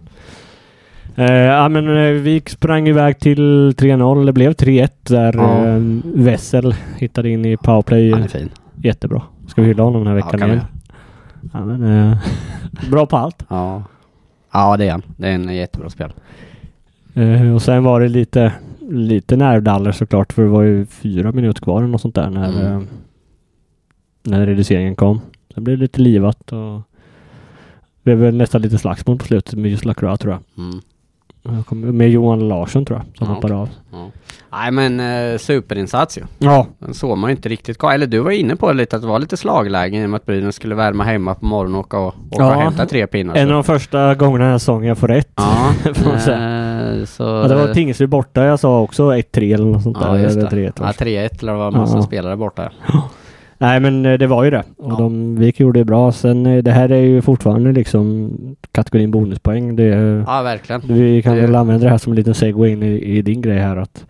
Speaker 1: Eh, ja, men eh, vi sprang iväg till 3-0. Det blev 3-1 där
Speaker 2: Ja.
Speaker 1: eh, Wessel hittade in i powerplay.
Speaker 2: Han är fin.
Speaker 1: Jättebra. Ska vi hylla honom den här
Speaker 2: Ja,
Speaker 1: veckan
Speaker 2: kan vi
Speaker 1: igen?
Speaker 2: göra.
Speaker 1: Ja, men, eh, bra på allt.
Speaker 2: Ja. Ja, det är han. Det är en jättebra spel.
Speaker 1: Eh, och sen var det lite, lite nervdaller såklart för det var ju fyra minuter kvar eller något sånt där när,
Speaker 2: Mm.
Speaker 1: eh, när reduceringen kom. Sen blev det lite livat och det blev väl nästan lite slagsmål på slutet med just Lacroix tror jag.
Speaker 2: Mm.
Speaker 1: jag. kommer- Med Johan Larsson tror jag som
Speaker 2: Ja,
Speaker 1: hoppade av.
Speaker 2: Ja. Nej, men eh, superinsats ju.
Speaker 1: Ja,
Speaker 2: Den såg man ju inte riktigt komma. Eller du var inne på det lite, att det var lite slaglägen i och med att Brynäs skulle värma hemma på morgonen och åka och, åka och
Speaker 1: Ja.
Speaker 2: hämta tre pinnar.
Speaker 1: en
Speaker 2: så.
Speaker 1: av de första gångerna den här säsongen jag får rätt.
Speaker 2: alltså. Ja,
Speaker 1: får man
Speaker 2: eh, så...
Speaker 1: Ja, det var Tingsryd borta jag sa också 1-3 eller något sånt
Speaker 2: Ja,
Speaker 1: där.
Speaker 2: just
Speaker 1: Eller
Speaker 2: det.
Speaker 1: 3-1
Speaker 2: Ja, 3-1 eller det var massa
Speaker 1: Ja.
Speaker 2: spelare borta.
Speaker 1: Nej men eh, det var ju det. Och
Speaker 2: Ja.
Speaker 1: de, Vik gjorde det bra. Sen eh, det här är ju fortfarande liksom kategorin bonuspoäng. Det, är-
Speaker 2: Ja, verkligen.
Speaker 1: Vi kan
Speaker 2: Det-
Speaker 1: väl använda det här som en liten segway in i, i din grej här att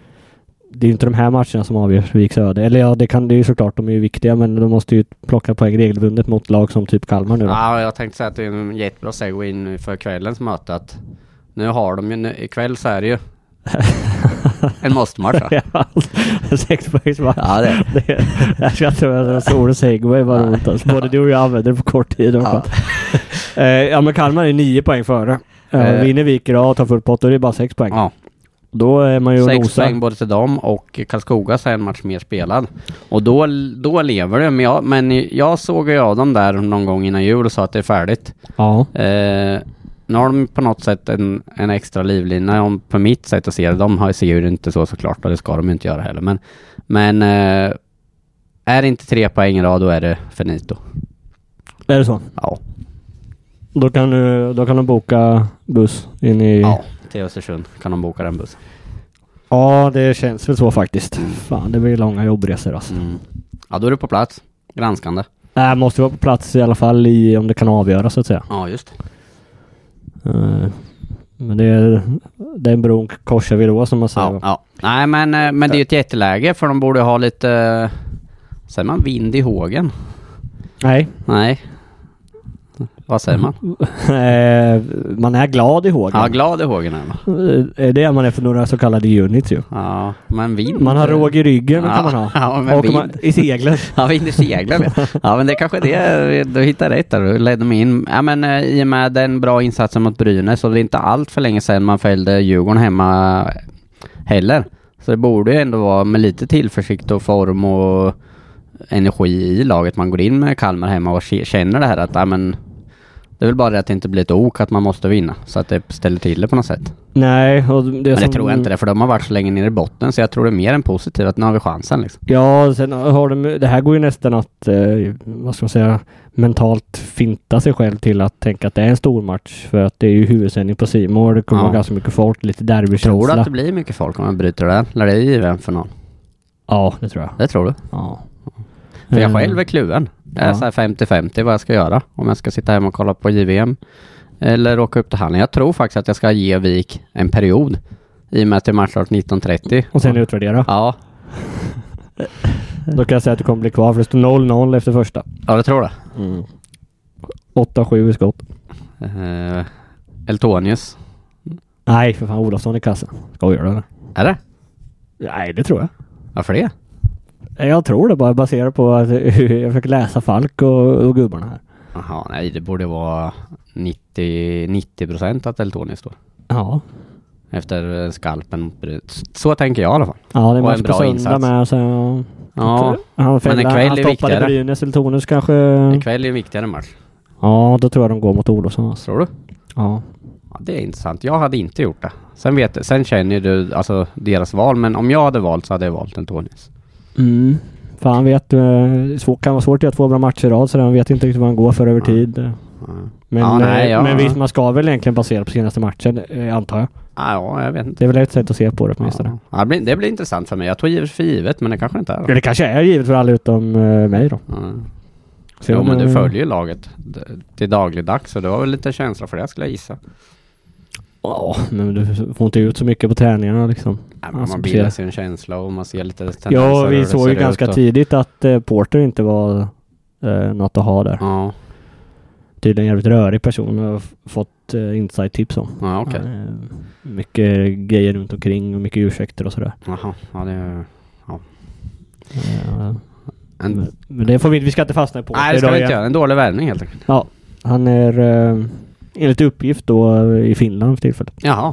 Speaker 1: det är ju inte de här matcherna som avgör Viks öde. Eller ja, det kan det är ju såklart. De är ju viktiga men de måste ju plocka poäng regelbundet mot lag som typ Kalmar nu då.
Speaker 2: Ja, jag tänkte säga att det är en jättebra segway in för kvällens möte att nu har de ju, nu, ikväll så är det ju en måste-match. va?
Speaker 1: Ja. alltså, Sexpoängsmatch.
Speaker 2: Ja, det är
Speaker 1: Det, jag ska inte behöva säga ordet segway var roligt alltså. Både du och jag använder det på kort tid. Ja.
Speaker 2: Ja.
Speaker 1: Eh, ja men Kalmar är nio poäng före. Eh,
Speaker 2: Eh.
Speaker 1: vinner Vik idag och tar full pott då är det bara sex poäng.
Speaker 2: ja.
Speaker 1: Då är man ju och
Speaker 2: Sex
Speaker 1: nosar.
Speaker 2: poäng både till dem och Karlskoga så är en match mer spelad. Och då, då lever det. Men jag, men jag såg ju av dem där någon gång innan jul och sa att det är färdigt.
Speaker 1: Ja.
Speaker 2: Eh, nu har de på något sätt en, en extra livlina om, på mitt sätt att se det. De har ju- ser ju det inte så såklart och det ska de ju inte göra heller. Men, men eh, är det inte tre poäng idag då är det finito.
Speaker 1: Är det så?
Speaker 2: Ja,
Speaker 1: Då kan, du, då kan de boka buss in i...
Speaker 2: ja. till Östersund kan de boka den bussen.
Speaker 1: Ja, det känns väl så faktiskt. Fan, det blir långa jobbresor alltså.
Speaker 2: Mm. Ja, då är du på plats. Granskande.
Speaker 1: Nej, måste vara på plats i alla fall i, om det kan avgöras så att säga.
Speaker 2: Ja, just det.
Speaker 1: Eh, Men det är den bron korsar vi då som man säger.
Speaker 2: Ja, ja. Nej, men, eh, men det är ju ett jätteläge för de borde ha lite... eh, Säger man vind i hågen?
Speaker 1: Nej,
Speaker 2: Nej. Vad säger man?
Speaker 1: Eh, man är glad i hågen.
Speaker 2: Ja, glad i hågen är man.
Speaker 1: Eh, Det är det man är för några så kallade units ju.
Speaker 2: Ja, men vind...
Speaker 1: Man har råg i ryggen
Speaker 2: Ja,
Speaker 1: kan man ha.
Speaker 2: ja, men
Speaker 1: och
Speaker 2: vind.
Speaker 1: man, i seglen.
Speaker 2: Ja, vind i seglen ja. ja. men det är kanske är det du hittar rätt där. Du ledde mig in. Ja, men eh, i och med den bra insatsen mot Brynäs och det är inte allt för länge sedan man fällde Djurgården hemma heller. Så det borde ju ändå vara med lite tillförsikt och form och energi i laget man går in med Kalmar hemma och k- känner det här att ja, men det är väl bara det att det inte blir ett ok att man måste vinna så att det ställer till det på något sätt.
Speaker 1: Nej, och det,
Speaker 2: Men
Speaker 1: som,
Speaker 2: det tror jag inte det för de har varit så länge nere i botten så jag tror det är mer än positivt att nu har vi chansen liksom.
Speaker 1: Ja, sen har de, det här går ju nästan att, eh, vad ska man säga, mentalt finta sig själv till att tänka att det är en stor match För att det är ju huvudsändning på C More, det kommer
Speaker 2: Ja.
Speaker 1: vara ganska mycket folk, lite
Speaker 2: Tror du
Speaker 1: derbykänsla.
Speaker 2: att det blir mycket folk om man bryter det? här? Lär det i en final?
Speaker 1: Ja, det tror jag.
Speaker 2: Det tror du?
Speaker 1: Ja.
Speaker 2: För jag
Speaker 1: Eh,
Speaker 2: själv är kluven. Jag är
Speaker 1: ja.
Speaker 2: så här 50-50 vad jag ska göra. Om jag ska sitta hemma och kolla på JVM eller åka upp till Hallen. Jag tror faktiskt att jag ska ge Vik en period. I och med att det är matchstart 19.30.
Speaker 1: Och sen utvärdera.
Speaker 2: Ja,
Speaker 1: Då kan jag säga att du kommer bli kvar för det står 0-0 efter första.
Speaker 2: ja det tror jag.
Speaker 1: 8-7 i skott.
Speaker 2: Eh, Eltonius.
Speaker 1: Nej, för fan Olofsson i kassen. Skojar du eller?
Speaker 2: Är det?
Speaker 1: Nej, det tror jag.
Speaker 2: Varför det?
Speaker 1: Jag tror det bara baserat på att jag fick läsa Falk och, och gubbarna här.
Speaker 2: Jaha, nej det borde vara 90, 90 procent att Eltonius står.
Speaker 1: Ja.
Speaker 2: Efter eh, skalpen mot Brynäs. Så tänker jag i alla fall.
Speaker 1: Ja, det är
Speaker 2: Och
Speaker 1: match
Speaker 2: en
Speaker 1: på
Speaker 2: bra
Speaker 1: söndag
Speaker 2: insats.
Speaker 1: med. Så, ja.
Speaker 2: Ja,
Speaker 1: han
Speaker 2: en
Speaker 1: fällde,
Speaker 2: kväll
Speaker 1: han
Speaker 2: är
Speaker 1: toppade
Speaker 2: viktigare.
Speaker 1: Brynäs eller Tornus kanske.
Speaker 2: ikväll är en viktigare match.
Speaker 1: Ja, då tror jag de går mot Olofsson alltså.
Speaker 2: Tror du?
Speaker 1: Ja.
Speaker 2: Ja, det är intressant. Jag hade inte gjort det. Sen, vet, sen känner ju du alltså, deras val, men om jag hade valt så hade jag valt Antonius.
Speaker 1: Mm. För han vet, eh, det är svårt- kan vara svårt att göra två bra matcher i rad så han vet inte riktigt vad han går för över tid.
Speaker 2: Ja.
Speaker 1: Men,
Speaker 2: Ja, nej,
Speaker 1: eh,
Speaker 2: ja.
Speaker 1: men visst, man ska väl egentligen basera på senaste matchen, eh, antar jag.
Speaker 2: Ah, ja, jag vet inte.
Speaker 1: Det är väl ett sätt att se på det åtminstone.
Speaker 2: Ja. Ja, det, blir, det blir intressant för mig. Jag tog givet för givet, men det kanske inte är
Speaker 1: Ja,
Speaker 2: det.
Speaker 1: det kanske är givet för alla utom eh, mig då.
Speaker 2: Ja.
Speaker 1: Sen,
Speaker 2: Jo, men du
Speaker 1: eh,
Speaker 2: följer ju laget d- till dagligdags, så du har väl lite känsla för det, skulle jag gissa.
Speaker 1: Ja, men du får inte ut så mycket på träningarna liksom.
Speaker 2: Ja, men
Speaker 1: Alltså,
Speaker 2: man bildar
Speaker 1: precis.
Speaker 2: sig en känsla och man ser lite tendenser.
Speaker 1: Ja,
Speaker 2: hur
Speaker 1: vi
Speaker 2: det
Speaker 1: såg ju
Speaker 2: ser ut
Speaker 1: ganska
Speaker 2: och-
Speaker 1: tidigt att eh, Porter inte var eh, något att ha där.
Speaker 2: Ja,
Speaker 1: Tydligen en jävligt rörig person och har f- fått eh, inside-tips om.
Speaker 2: ja okej.
Speaker 1: Eh, mycket grejer runt omkring och mycket ursäkter och sådär.
Speaker 2: Jaha, ja det är...
Speaker 1: Eh,
Speaker 2: En...
Speaker 1: men- men det får vi, vi ska inte fastna i Porter
Speaker 2: Nej, det ska
Speaker 1: idag
Speaker 2: vi
Speaker 1: igen.
Speaker 2: inte göra. En dålig värvning helt enkelt.
Speaker 1: Ja, han är eh, enligt uppgift då eh, i Finland för tillfället.
Speaker 2: Jaha.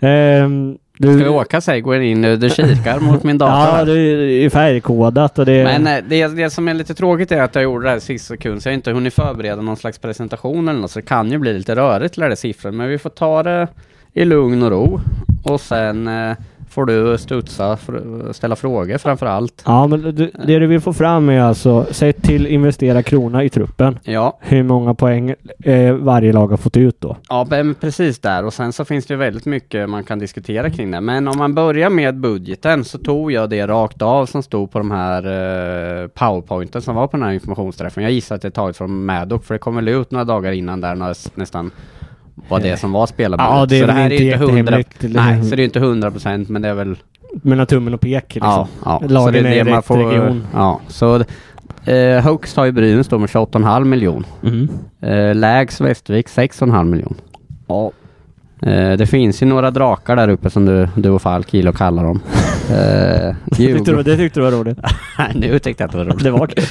Speaker 1: Ehm, du,
Speaker 2: Ska vi åka säger går in nu. Du kikar mot min dator.
Speaker 1: Ja,
Speaker 2: här.
Speaker 1: det är ju färgkodat och det...
Speaker 2: Men eh, det, det som är lite tråkigt är att jag gjorde det här sista sekund, så jag har inte hunnit förbereda någon slags presentation eller något, så det kan ju bli lite rörigt till det där siffror. Men vi får ta det i lugn och ro. Och sen eh, får du studsa, fr- ställa frågor framför allt.
Speaker 1: Ja, men du, det du vill få fram är alltså, säg till investera krona i truppen.
Speaker 2: Ja,
Speaker 1: Hur många poäng eh, varje lag har fått ut då?
Speaker 2: ja men precis där. Och sen så finns det ju väldigt mycket man kan diskutera kring det. Men om man börjar med budgeten så tog jag det rakt av som stod på de här eh, powerpointen som var på den här informationsträffen. Jag gissar att det är taget från Maddock, för det kom väl ut några dagar innan där när s- nästan vad det som var spelarbudet.
Speaker 1: Eh, Ja, det är
Speaker 2: så
Speaker 1: väl inte jättehemligt, eller
Speaker 2: Nej,
Speaker 1: hur?
Speaker 2: så det är ju inte 100 procent, men det är väl
Speaker 1: Mellan tummen och pek liksom.
Speaker 2: Ja, ja. så
Speaker 1: Lagen
Speaker 2: det
Speaker 1: är i
Speaker 2: är det man
Speaker 1: rätt
Speaker 2: får...
Speaker 1: region.
Speaker 2: Ja, så eh, högst har ju Brynäs då med 28,5 miljon.
Speaker 1: Mm.
Speaker 2: Eh, lägst Västervik 6,5 miljon.
Speaker 1: ja.
Speaker 2: Eh, det finns ju några drakar där uppe som du, du och Falk gillar att kalla dem. Eh,
Speaker 1: Det tyckte, du,
Speaker 2: Djurgården.
Speaker 1: det tyckte du var roligt.
Speaker 2: nu tyckte jag att det var roligt.
Speaker 1: Det var kul.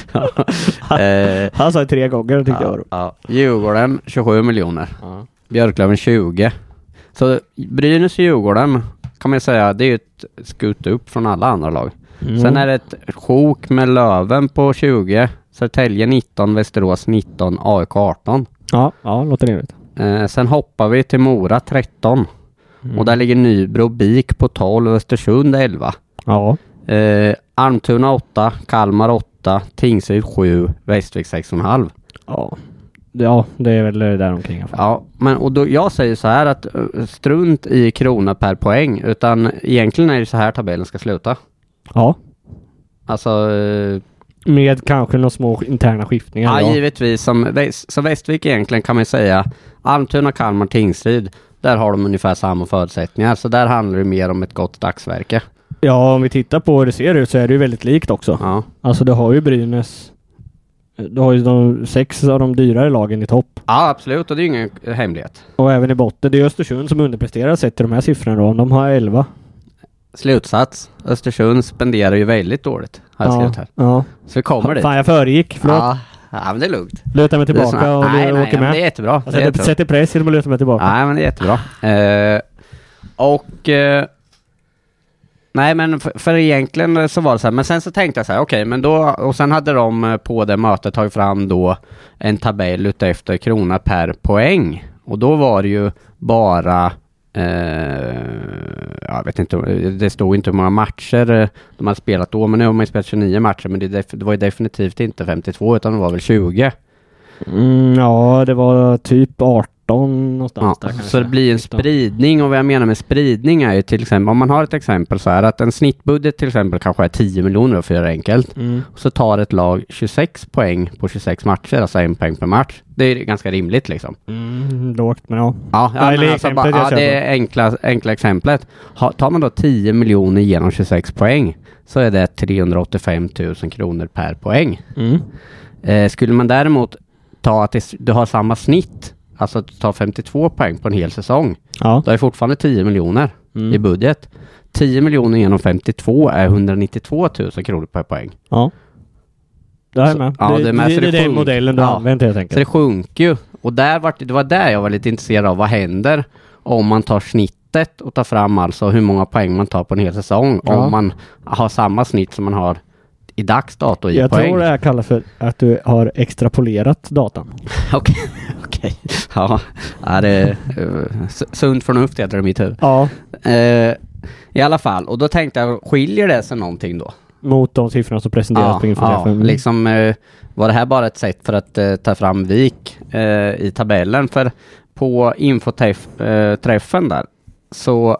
Speaker 2: eh,
Speaker 1: Han sa det tre gånger och tyckte jag var roligt.
Speaker 2: ja. Djurgården 27 miljoner.
Speaker 1: Ja.
Speaker 2: Björklöven 20. Så Brynäs och Djurgården kan man ju säga, det är ju ett skut upp från alla andra lag.
Speaker 1: Mm.
Speaker 2: Sen är det ett sjok med Löven på 20, Södertälje 19, Västerås 19, AIK 18.
Speaker 1: Ja, ja låter rimligt.
Speaker 2: Eh, sen hoppar vi till Mora 13
Speaker 1: Mm.
Speaker 2: och där ligger Nybro BIK på 12, Östersund 11.
Speaker 1: Ja.
Speaker 2: Eh, Almtuna 8, Kalmar 8, Tingsryd 7, Västervik 6,5.
Speaker 1: Ja. Ja, det är väl där omkring i alla fall.
Speaker 2: Ja, men och då, jag säger så här att eh, strunt i krona per poäng, utan egentligen är det så här tabellen ska sluta.
Speaker 1: Ja.
Speaker 2: Alltså, eh,
Speaker 1: Med kanske några små interna skiftningar.
Speaker 2: Ja,
Speaker 1: då.
Speaker 2: givetvis. Som, Väs- som Västervik egentligen kan man ju säga, Almtuna, Kalmar, Tingsryd, där har de ungefär samma förutsättningar. Så där handlar det mer om ett gott dagsverke.
Speaker 1: ja, om vi tittar på hur det ser ut så är det ju väldigt likt också.
Speaker 2: Ja,
Speaker 1: Alltså du har ju Brynäs. Du har ju de sex av de dyrare lagen i topp.
Speaker 2: ja absolut. Och det är ju ingen eh, hemlighet.
Speaker 1: Och även i botten. Det är Östersund som underpresterar sett till de här siffrorna då. De har 11.
Speaker 2: Slutsats. Östersund spenderar ju väldigt dåligt, har jag
Speaker 1: Ja,
Speaker 2: skrivit här.
Speaker 1: ja.
Speaker 2: Så vi kommer dit.
Speaker 1: Fan, jag föregick. Förlåt.
Speaker 2: Ja, ja, men det är lugnt.
Speaker 1: Lutar mig
Speaker 2: det är
Speaker 1: tillbaka
Speaker 2: såna-
Speaker 1: och
Speaker 2: nej,
Speaker 1: nej,
Speaker 2: nej,
Speaker 1: åker
Speaker 2: ja,
Speaker 1: med.
Speaker 2: men
Speaker 1: Alltså,
Speaker 2: det är jättebra.
Speaker 1: Jag
Speaker 2: Det är
Speaker 1: sätter,
Speaker 2: jättebra.
Speaker 1: sätter press genom att luta mig tillbaka.
Speaker 2: Nej, men det är jättebra. Eh, och... Eh, nej, men för, för egentligen så var det så här. Men sen så tänkte jag så här, okej, men då... Och sen hade de eh, på det mötet tagit fram då en tabell utefter krona per poäng. Och då var det ju bara... Eh, jag vet inte, det stod inte hur många matcher eh, de hade spelat då, men nu har man ju spelat 29 matcher, men det, def- det var ju definitivt inte 52, utan det var väl 20.
Speaker 1: Mm, ja, det var typ 18 någonstans där kanske.
Speaker 2: så det blir en spridning och vad jag menar med spridning är ju till exempel om man har ett exempel så här att en snittbudget till exempel kanske är 10 miljoner då, för att göra det enkelt.
Speaker 1: Mm.
Speaker 2: Och så tar ett lag 26 poäng på 26 matcher, alltså en poäng per match. Det är ganska rimligt liksom.
Speaker 1: Mm, lågt men ja.
Speaker 2: Ja, ja,
Speaker 1: Nej, det
Speaker 2: men
Speaker 1: är
Speaker 2: alltså,
Speaker 1: exemplet
Speaker 2: bara, ja
Speaker 1: jag
Speaker 2: det är enkla, enkla exemplet. Ha, tar man då 10 miljoner genom 26 poäng så är det 385 000 kronor per poäng.
Speaker 1: Mm.
Speaker 2: Eh, skulle man däremot ta att det, du har samma snitt, alltså att du tar 52 poäng på en hel säsong,
Speaker 1: Ja.
Speaker 2: då är det fortfarande 10 miljoner
Speaker 1: Mm.
Speaker 2: i budget. 10 miljoner genom 52 är 192 000 kronor per poäng.
Speaker 1: ja. Det här är med.
Speaker 2: Så- ja,
Speaker 1: det,
Speaker 2: det
Speaker 1: det,
Speaker 2: är med,
Speaker 1: det,
Speaker 2: så det
Speaker 1: är den
Speaker 2: sjunk-
Speaker 1: modellen du
Speaker 2: ja.
Speaker 1: har använt helt
Speaker 2: Så det
Speaker 1: enkelt.
Speaker 2: sjunker ju. Och där var det, det var där jag var lite intresserad av. Vad händer om man tar snittet och tar fram alltså hur många poäng man tar på en hel säsong?
Speaker 1: Ja.
Speaker 2: Om man har samma snitt som man har i dags dato i
Speaker 1: Jag
Speaker 2: poäng.
Speaker 1: tror det här kallas för att du har extrapolerat datan.
Speaker 2: Okej, okej. Ja, ja, det är eh, s- sunt förnuft heter det i mitt huvud.
Speaker 1: Ja.
Speaker 2: Eh, I alla fall, och då tänkte jag, skiljer det sig någonting då?
Speaker 1: Mot de siffrorna som presenteras på infoträffen. Mm.
Speaker 2: liksom eh, var det här bara ett sätt för att eh, ta fram vik eh, i tabellen? För på infoträffen eh, träffen där så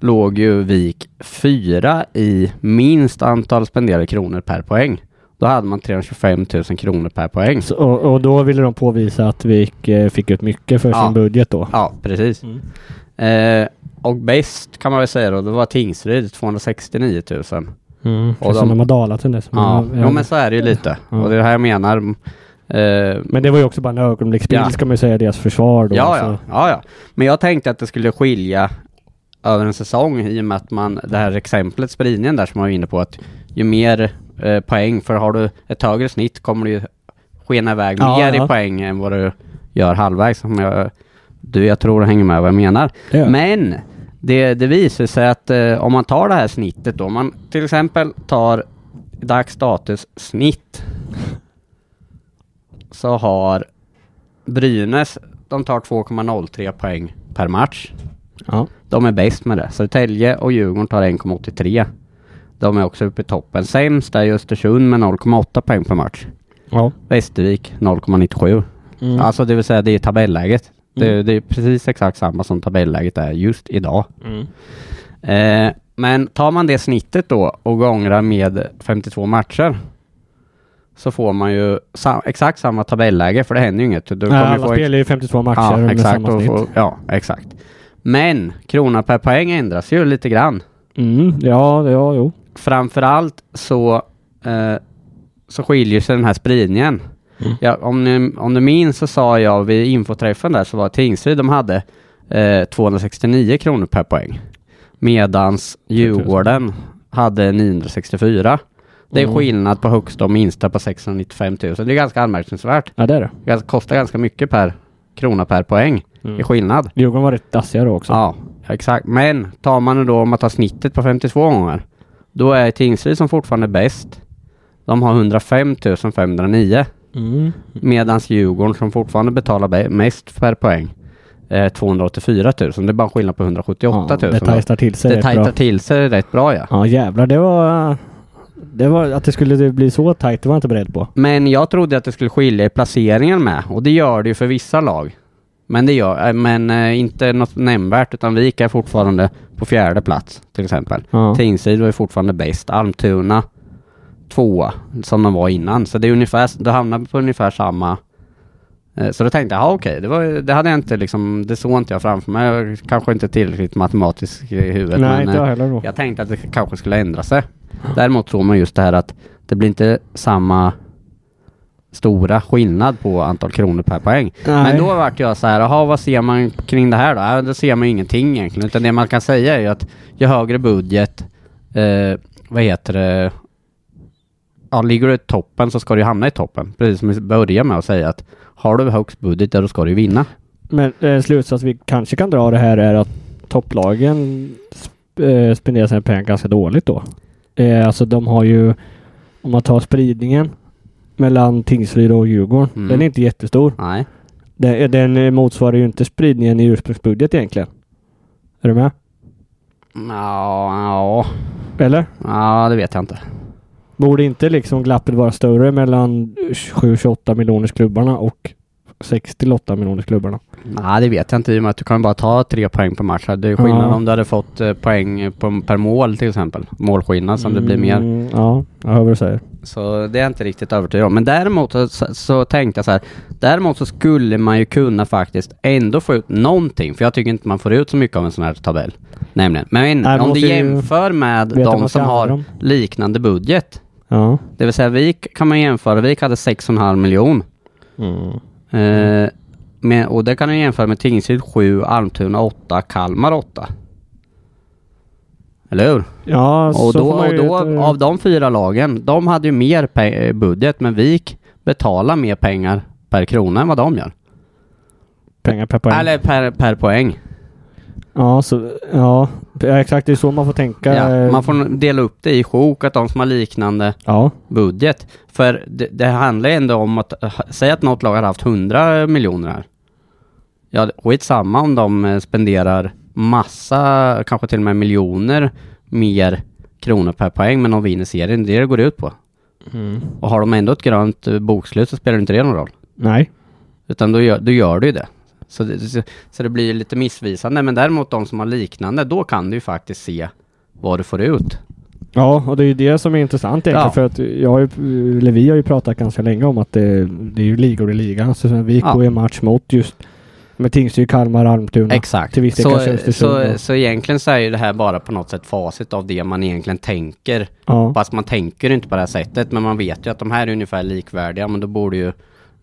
Speaker 2: låg ju vik fyra i minst antal spenderade kronor per poäng. Då hade man 325 000 kronor per poäng.
Speaker 1: Så, och, och då ville de påvisa att vi gick, eh, fick ut mycket för
Speaker 2: Ja.
Speaker 1: sin budget då.
Speaker 2: Ja, precis.
Speaker 1: Mm.
Speaker 2: Eh, och bäst kan man väl säga då, det var Tingsryd 269 000.
Speaker 1: Mm.
Speaker 2: Och
Speaker 1: Och
Speaker 2: de-
Speaker 1: de, de har dalat sen dess.
Speaker 2: Ja,
Speaker 1: Men-
Speaker 2: jo, men så är det ju lite.
Speaker 1: Ja.
Speaker 2: Och det är det här jag menar. Eh,
Speaker 1: Men det var ju också bara en ögonblicksbild
Speaker 2: Ja.
Speaker 1: ska man ju säga, deras försvar då. alltså.
Speaker 2: ja,
Speaker 1: så-
Speaker 2: ja, ja, ja. Men jag tänkte att det skulle skilja över en säsong i och med att man, det här exemplet, spridningen där som man var inne på, att ju mer eh, poäng, för har du ett högre snitt kommer du ju skena iväg
Speaker 1: Ja,
Speaker 2: mer i
Speaker 1: ja.
Speaker 2: poäng än vad du gör halvvägs. Om jag, du, jag tror du hänger med vad jag menar.
Speaker 1: Det gör jag.
Speaker 2: Men det, det visar sig att eh, om man tar det här snittet då, om man till exempel tar dagsstatus snitt så har Brynäs, de tar 2,03 poäng per match.
Speaker 1: Ja.
Speaker 2: De är bäst med det. Södertälje och Djurgården tar 1,83. De är också uppe i toppen. Sämst är ju Östersund med 0,8 poäng per match.
Speaker 1: ja.
Speaker 2: Västervik 0,97.
Speaker 1: Mm.
Speaker 2: Alltså det vill säga det är tabelläget. Det,
Speaker 1: Mm.
Speaker 2: det är precis exakt samma som tabelläget är just idag.
Speaker 1: Mm.
Speaker 2: Eh, men tar man det snittet då och gångrar med 52 matcher så får man ju sa- exakt samma tabelläge för det händer ju inget. Du
Speaker 1: Nej,
Speaker 2: ju
Speaker 1: alla spelar ju 52 matcher
Speaker 2: ja,
Speaker 1: med
Speaker 2: exakt,
Speaker 1: samma
Speaker 2: och
Speaker 1: snitt.
Speaker 2: får- ja, exakt. Men krona per poäng ändras ju lite grann.
Speaker 1: Mm. Ja, ja, jo.
Speaker 2: Framförallt så, eh, så skiljer sig den här spridningen.
Speaker 1: Mm.
Speaker 2: Ja, om, ni, om du minns så sa jag vid infoträffen där så var Tingsryd, de hade eh, 269 kronor per poäng. Medans Djurgården hade 964. Det är
Speaker 1: Mm.
Speaker 2: skillnad på högsta och minsta på 695 000. Det är ganska anmärkningsvärt.
Speaker 1: Ja, det är det.
Speaker 2: Det gans- kostar ganska mycket per krona per poäng i
Speaker 1: Mm.
Speaker 2: skillnad.
Speaker 1: Djurgården var rätt dassiga då också.
Speaker 2: Mm. Ja, exakt. Men tar man det då om man tar snittet på 52 gånger, då är Tingsryd som fortfarande är bäst. De har 105 509.
Speaker 1: Mm.
Speaker 2: Medan Djurgården som fortfarande betalar be- mest per poäng, eh, 284 000. Det är bara en skillnad på 178 000.
Speaker 1: det tajtar till sig
Speaker 2: det
Speaker 1: rätt bra.
Speaker 2: tajtar till sig rätt bra ja.
Speaker 1: Ja, jävlar. Det var... Det var att det skulle bli så tajt, det var jag inte beredd på.
Speaker 2: Men jag trodde att det skulle skilja i placeringen med och det gör det ju för vissa lag. Men det gör, eh, men eh, inte något nämnvärt utan Vik är fortfarande på fjärde plats till exempel.
Speaker 1: Ja.
Speaker 2: Tingsryd var ju fortfarande bäst. Almtuna tvåa som de var innan. Så det är ungefär, då hamnar vi på ungefär samma. Eh, Så då tänkte jag, ja okej, det, var, det hade jag inte liksom, det såg inte jag framför mig. Jag är kanske inte tillräckligt matematisk i huvudet.
Speaker 1: Nej,
Speaker 2: men,
Speaker 1: inte
Speaker 2: eh,
Speaker 1: jag heller då.
Speaker 2: jag tänkte att det kanske skulle ändra sig. Däremot tror man just det här att det blir inte samma stora skillnad på antal kronor per poäng.
Speaker 1: Nej.
Speaker 2: Men då vart jag så här, jaha vad ser man kring det här då? Ja, då ser man ju ingenting egentligen. Utan det man kan säga är ju att ju högre budget, eh, vad heter det, ja, ligger du i toppen så ska du ju hamna i toppen. Precis som vi börjar med att säga att har du högst budget, ja, då ska du ju vinna.
Speaker 1: Men en slutsats vi kanske kan dra av det här är att topplagen sp- eh, spenderar sina pengar ganska dåligt då. Eh, alltså de har ju, om man tar spridningen mellan Tingsryd och Djurgården.
Speaker 2: Mm.
Speaker 1: Den är inte jättestor.
Speaker 2: Nej.
Speaker 1: Den, den eh, motsvarar ju inte spridningen i ursprungsbudget egentligen. Är du med?
Speaker 2: Ja, ja,
Speaker 1: Eller?
Speaker 2: ja, det vet jag inte.
Speaker 1: Borde inte liksom glappet vara större mellan 7-28 miljoners klubbarna och 6-8 miljoners klubbarna?
Speaker 2: Nej, det vet jag inte i och med att du kan bara ta tre poäng per match. här. Det är ju skillnad
Speaker 1: Ja.
Speaker 2: om du hade fått eh, poäng på, per mål till exempel. Målskillnad som det blir mer.
Speaker 1: Mm, ja, jag hör vad du säger.
Speaker 2: Så det är jag inte riktigt övertygad om. Men däremot så, så- så tänkte jag så här. Däremot så skulle man ju kunna faktiskt ändå få ut någonting. För jag tycker inte man får ut så mycket av en sån här tabell. Nämligen. Men
Speaker 1: Nej,
Speaker 2: om
Speaker 1: måste
Speaker 2: du
Speaker 1: ju
Speaker 2: jämför med
Speaker 1: veta vad
Speaker 2: de
Speaker 1: man ska
Speaker 2: som har
Speaker 1: använda
Speaker 2: liknande budget.
Speaker 1: Ja.
Speaker 2: Det vill säga Vik kan man jämföra. Vik hade 6,5 miljon. Mm.
Speaker 1: Mm.
Speaker 2: Eh, men, och det kan du jämföra med Tingsryd 7, Almtuna 8, Kalmar 8. Eller hur?
Speaker 1: Ja,
Speaker 2: och
Speaker 1: så
Speaker 2: då,
Speaker 1: får man
Speaker 2: och
Speaker 1: ju eh,
Speaker 2: då
Speaker 1: inte-
Speaker 2: av de fyra lagen, de hade ju mer pe- eh, budget, men Vik betalar mer pengar per krona än vad de gör.
Speaker 1: pengar per poäng.
Speaker 2: Eller per, per poäng.
Speaker 1: Ja, så, ja. ja, exakt. Det är så man får tänka.
Speaker 2: Ja,
Speaker 1: eh,
Speaker 2: man får dela upp det i sjok, att de som har liknande
Speaker 1: ja.
Speaker 2: budget. För det, det handlar ju ändå om att, eh, säg att något lag har haft 100 miljoner här. Ja, skitsamma om de eh, spenderar massa, kanske till och med miljoner mer kronor per poäng, men de vinner serien. Det är det det går ut på. Och har de ändå ett grönt eh, bokslut så spelar inte det någon roll.
Speaker 1: Nej.
Speaker 2: Utan då gör, då gör du ju det. Så det, så, så det blir lite missvisande. Men däremot de som har liknande, då kan du ju faktiskt se vad du får ut.
Speaker 1: Ja, och det är ju det som är intressant egentligen.
Speaker 2: Ja.
Speaker 1: För att jag har ju, eller vi har ju pratat ganska länge om att det, det är ju ligor i ligan. Så sen vi gick
Speaker 2: Ja.
Speaker 1: och i match mot just med Tingsryd, Kalmar, Almtuna.
Speaker 2: Exakt.
Speaker 1: Mm. Till viss del kanske
Speaker 2: så,
Speaker 1: Östersund
Speaker 2: så,
Speaker 1: då.
Speaker 2: så egentligen så är ju det här bara på något sätt facit av det man egentligen tänker.
Speaker 1: Ja.
Speaker 2: Fast man tänker inte på det här sättet, men man vet ju att de här är ungefär likvärdiga, men då borde ju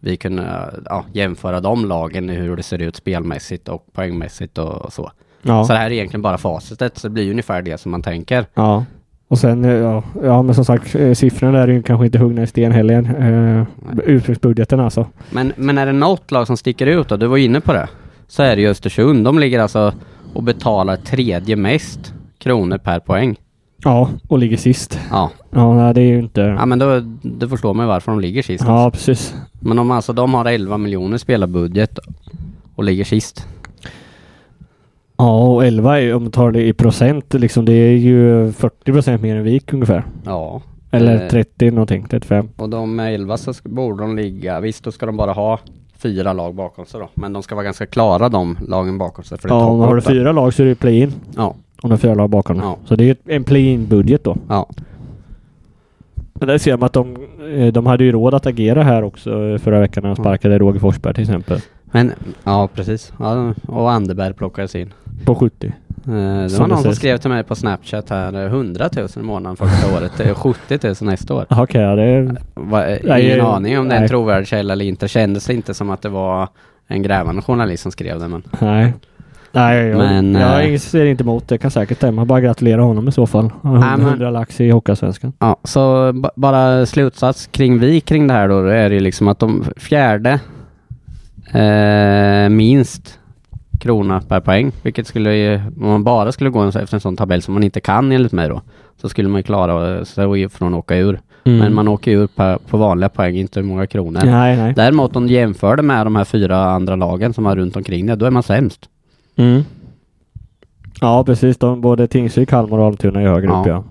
Speaker 2: vi kunna ja, jämföra de lagen i hur det ser ut spelmässigt och poängmässigt och så.
Speaker 1: Ja.
Speaker 2: Så det här är egentligen bara facitet, så det blir ju ungefär det som man tänker.
Speaker 1: ja. Och sen, eh, ja, ja men som sagt, eh, siffrorna där är ju kanske inte huggna i sten heller. Eh, Ursprungsbudgeten alltså.
Speaker 2: Men, men är det något lag som sticker ut då? Du var inne på det. Så är det ju Östersund. De ligger alltså och betalar tredje mest kronor per poäng.
Speaker 1: Ja, och ligger sist.
Speaker 2: Ja,
Speaker 1: Ja, nej, det är ju inte...
Speaker 2: ja men då, det förstår man ju varför de ligger sist.
Speaker 1: Ja, precis.
Speaker 2: Men om alltså de har 11 miljoner spelarbudget och ligger sist.
Speaker 1: Ja, och 11 är, om man tar det i procent, liksom, det är ju 40 procent mer än Vik ungefär.
Speaker 2: Ja.
Speaker 1: Eller
Speaker 2: Eh,
Speaker 1: 30 någonting, 35.
Speaker 2: Och de med 11 så sk- borde de ligga, visst då ska de bara ha fyra lag bakom sig då. Men de ska vara ganska klara de lagen bakom sig. För det är
Speaker 1: Ja, om man har
Speaker 2: toppåtta.
Speaker 1: fyra lag så är det play-in.
Speaker 2: Ja,
Speaker 1: Om de har fyra lag bakom.
Speaker 2: Ja.
Speaker 1: Så det är ju en play-in-budget då.
Speaker 2: ja.
Speaker 1: Men där ser man att de, eh, de hade ju råd att agera här också eh, förra veckan när de sparkade Roger Forsberg till exempel.
Speaker 2: Men, ja precis. Ja, och Anderberg plockades in.
Speaker 1: På 70.
Speaker 2: Eh, Det var
Speaker 1: Som det
Speaker 2: någon som
Speaker 1: sägs.
Speaker 2: skrev till mig på Snapchat här, eh, 100 000 i månaden första året, det är 70 000 nästa år.
Speaker 1: Jaha, Okej, ja, det är...
Speaker 2: Va, eh,
Speaker 1: Nej,
Speaker 2: ingen
Speaker 1: eh,
Speaker 2: aning om det är en
Speaker 1: nej.
Speaker 2: trovärdig källa eller inte, kändes inte som att det var en grävande journalist som skrev det men.
Speaker 1: Nej. Nej, jag,
Speaker 2: Men,
Speaker 1: jag
Speaker 2: eh,
Speaker 1: ser inte emot det. Kan säkert stämma. Bara gratulera honom i så fall.
Speaker 2: Ja, men-
Speaker 1: 100 lax i Hockeyallsvenskan.
Speaker 2: Ja, så ba- bara slutsats kring vi kring det här då, då är det ju liksom att de fjärde eh, minst krona per poäng, vilket skulle ju, om man bara skulle gå en så- efter en sån tabell som man inte kan enligt mig då, så skulle man ju klara sig från att åka ur.
Speaker 1: Mm.
Speaker 2: Men man åker ju ur på, på vanliga poäng, inte hur många kronor.
Speaker 1: Nej, nej.
Speaker 2: Däremot om du jämför det med de här fyra andra lagen som har runt omkring det, då är man sämst.
Speaker 1: Mm. Ja, precis. De, både Tingsryd, Kalmar och Almtuna är högre upp, ja.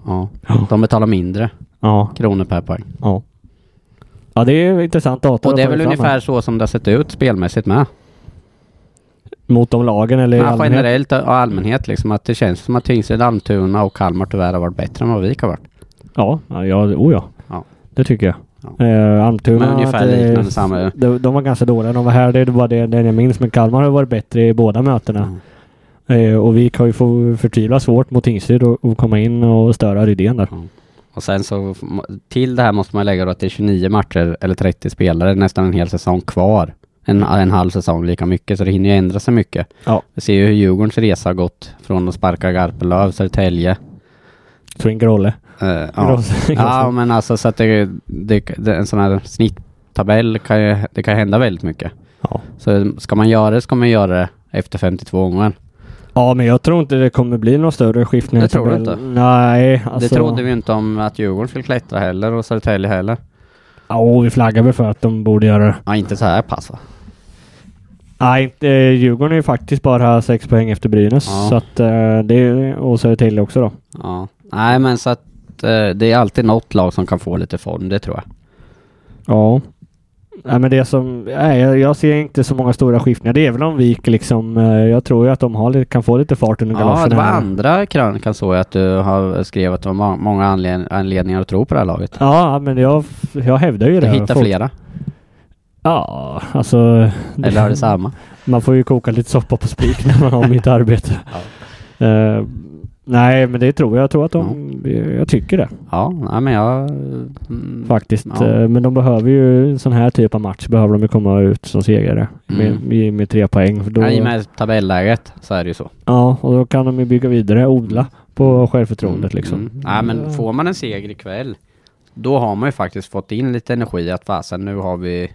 Speaker 2: ja. De betalar mindre
Speaker 1: Ja,
Speaker 2: kronor per poäng.
Speaker 1: ja. Ja, det är intressant data.
Speaker 2: Och
Speaker 1: att
Speaker 2: det är
Speaker 1: ta
Speaker 2: väl
Speaker 1: fram här.
Speaker 2: ungefär så som det har sett ut spelmässigt med.
Speaker 1: Mot de lagen eller i
Speaker 2: Ja,
Speaker 1: allmänhet?
Speaker 2: generellt och allmänhet liksom, att det känns som att Tingsryd, Almtuna och Kalmar tyvärr har varit bättre än vad vi har varit.
Speaker 1: Ja, ja, ja, oh ja.
Speaker 2: Ja.
Speaker 1: Det tycker jag.
Speaker 2: Ja.
Speaker 1: Eh, Almtuna,
Speaker 2: Men ungefär
Speaker 1: att det-
Speaker 2: liknande samma.
Speaker 1: De, de var ganska dåliga. De var här, det var det, det jag minns. Men Kalmar har varit bättre i båda mötena.
Speaker 2: Mm.
Speaker 1: Eh, och vi kan ju få förtvivla svårt mot Tingsryd och, och komma in och störa Rydén där.
Speaker 2: Och sen så till det här måste man lägga då att det är 29 matcher eller 30 spelare, nästan en hel säsong kvar. En, en halv säsong lika mycket, så det hinner ju ändra sig mycket.
Speaker 1: Mm. Ja.
Speaker 2: Vi ser ju hur Djurgårdens resa har gått från att sparka Garpenlöv, Södertälje.
Speaker 1: Tror in Grålle.
Speaker 2: Eh, ja.
Speaker 1: Grås-
Speaker 2: ja,
Speaker 1: Grås-
Speaker 2: men alltså så att det, det, det, en sån här snitttabell kan ju, det kan hända väldigt mycket.
Speaker 1: Ja.
Speaker 2: Så ska man göra det ska man göra det efter 52 gånger.
Speaker 1: ja, men jag tror inte det kommer bli någon större skiftning.
Speaker 2: Det tror du inte?
Speaker 1: Nej, alltså.
Speaker 2: Det trodde vi ju inte om att Djurgården skulle klättra heller och Södertälje heller.
Speaker 1: Ja, vi flaggar väl för att de borde göra det.
Speaker 2: Ja, inte så här pass va?
Speaker 1: Nej, inte, eh, Djurgården är ju faktiskt bara sex poäng efter Brynäs.
Speaker 2: Ja.
Speaker 1: Så att eh, det är, och Södertälje också då.
Speaker 2: Ja, nej men så att eh, det är alltid något lag som kan få lite form, det tror jag.
Speaker 1: Ja. Nej, men det som... Nej, jag, jag ser inte så många stora skiftningar. Det är väl om Vik liksom... eh, Jag tror ju att de har, lite- kan få lite fart under galoscherna.
Speaker 2: Ja, det var
Speaker 1: här.
Speaker 2: andra krönikan såg jag att du har skrivit att det var ma- många anled- anledningar att tro på det här laget.
Speaker 1: Ja, men jag, jag hävdar ju
Speaker 2: Du
Speaker 1: det. här.
Speaker 2: hittar
Speaker 1: Folk-
Speaker 2: flera,
Speaker 1: Ja, alltså...
Speaker 2: eller har det samma?
Speaker 1: Man får ju koka lite soppa på spik när man har mitt arbete. Eh, nej, men det tror jag. Jag tror att de... Jag tycker det
Speaker 2: Ja, nej men jag... Mm,
Speaker 1: faktiskt.
Speaker 2: Ja.
Speaker 1: Eh, men de behöver ju en sån här typ av match. Behöver de ju komma ut som segrare
Speaker 2: Mm.
Speaker 1: med, med, med tre poäng. För då,
Speaker 2: ja, I och med tabelläget så är det ju så.
Speaker 1: Ja, och då kan de ju bygga vidare, odla på självförtroendet
Speaker 2: Mm,
Speaker 1: liksom.
Speaker 2: mm. Nej men får man en seger ikväll, då har man ju faktiskt fått in lite energi att fasen nu har vi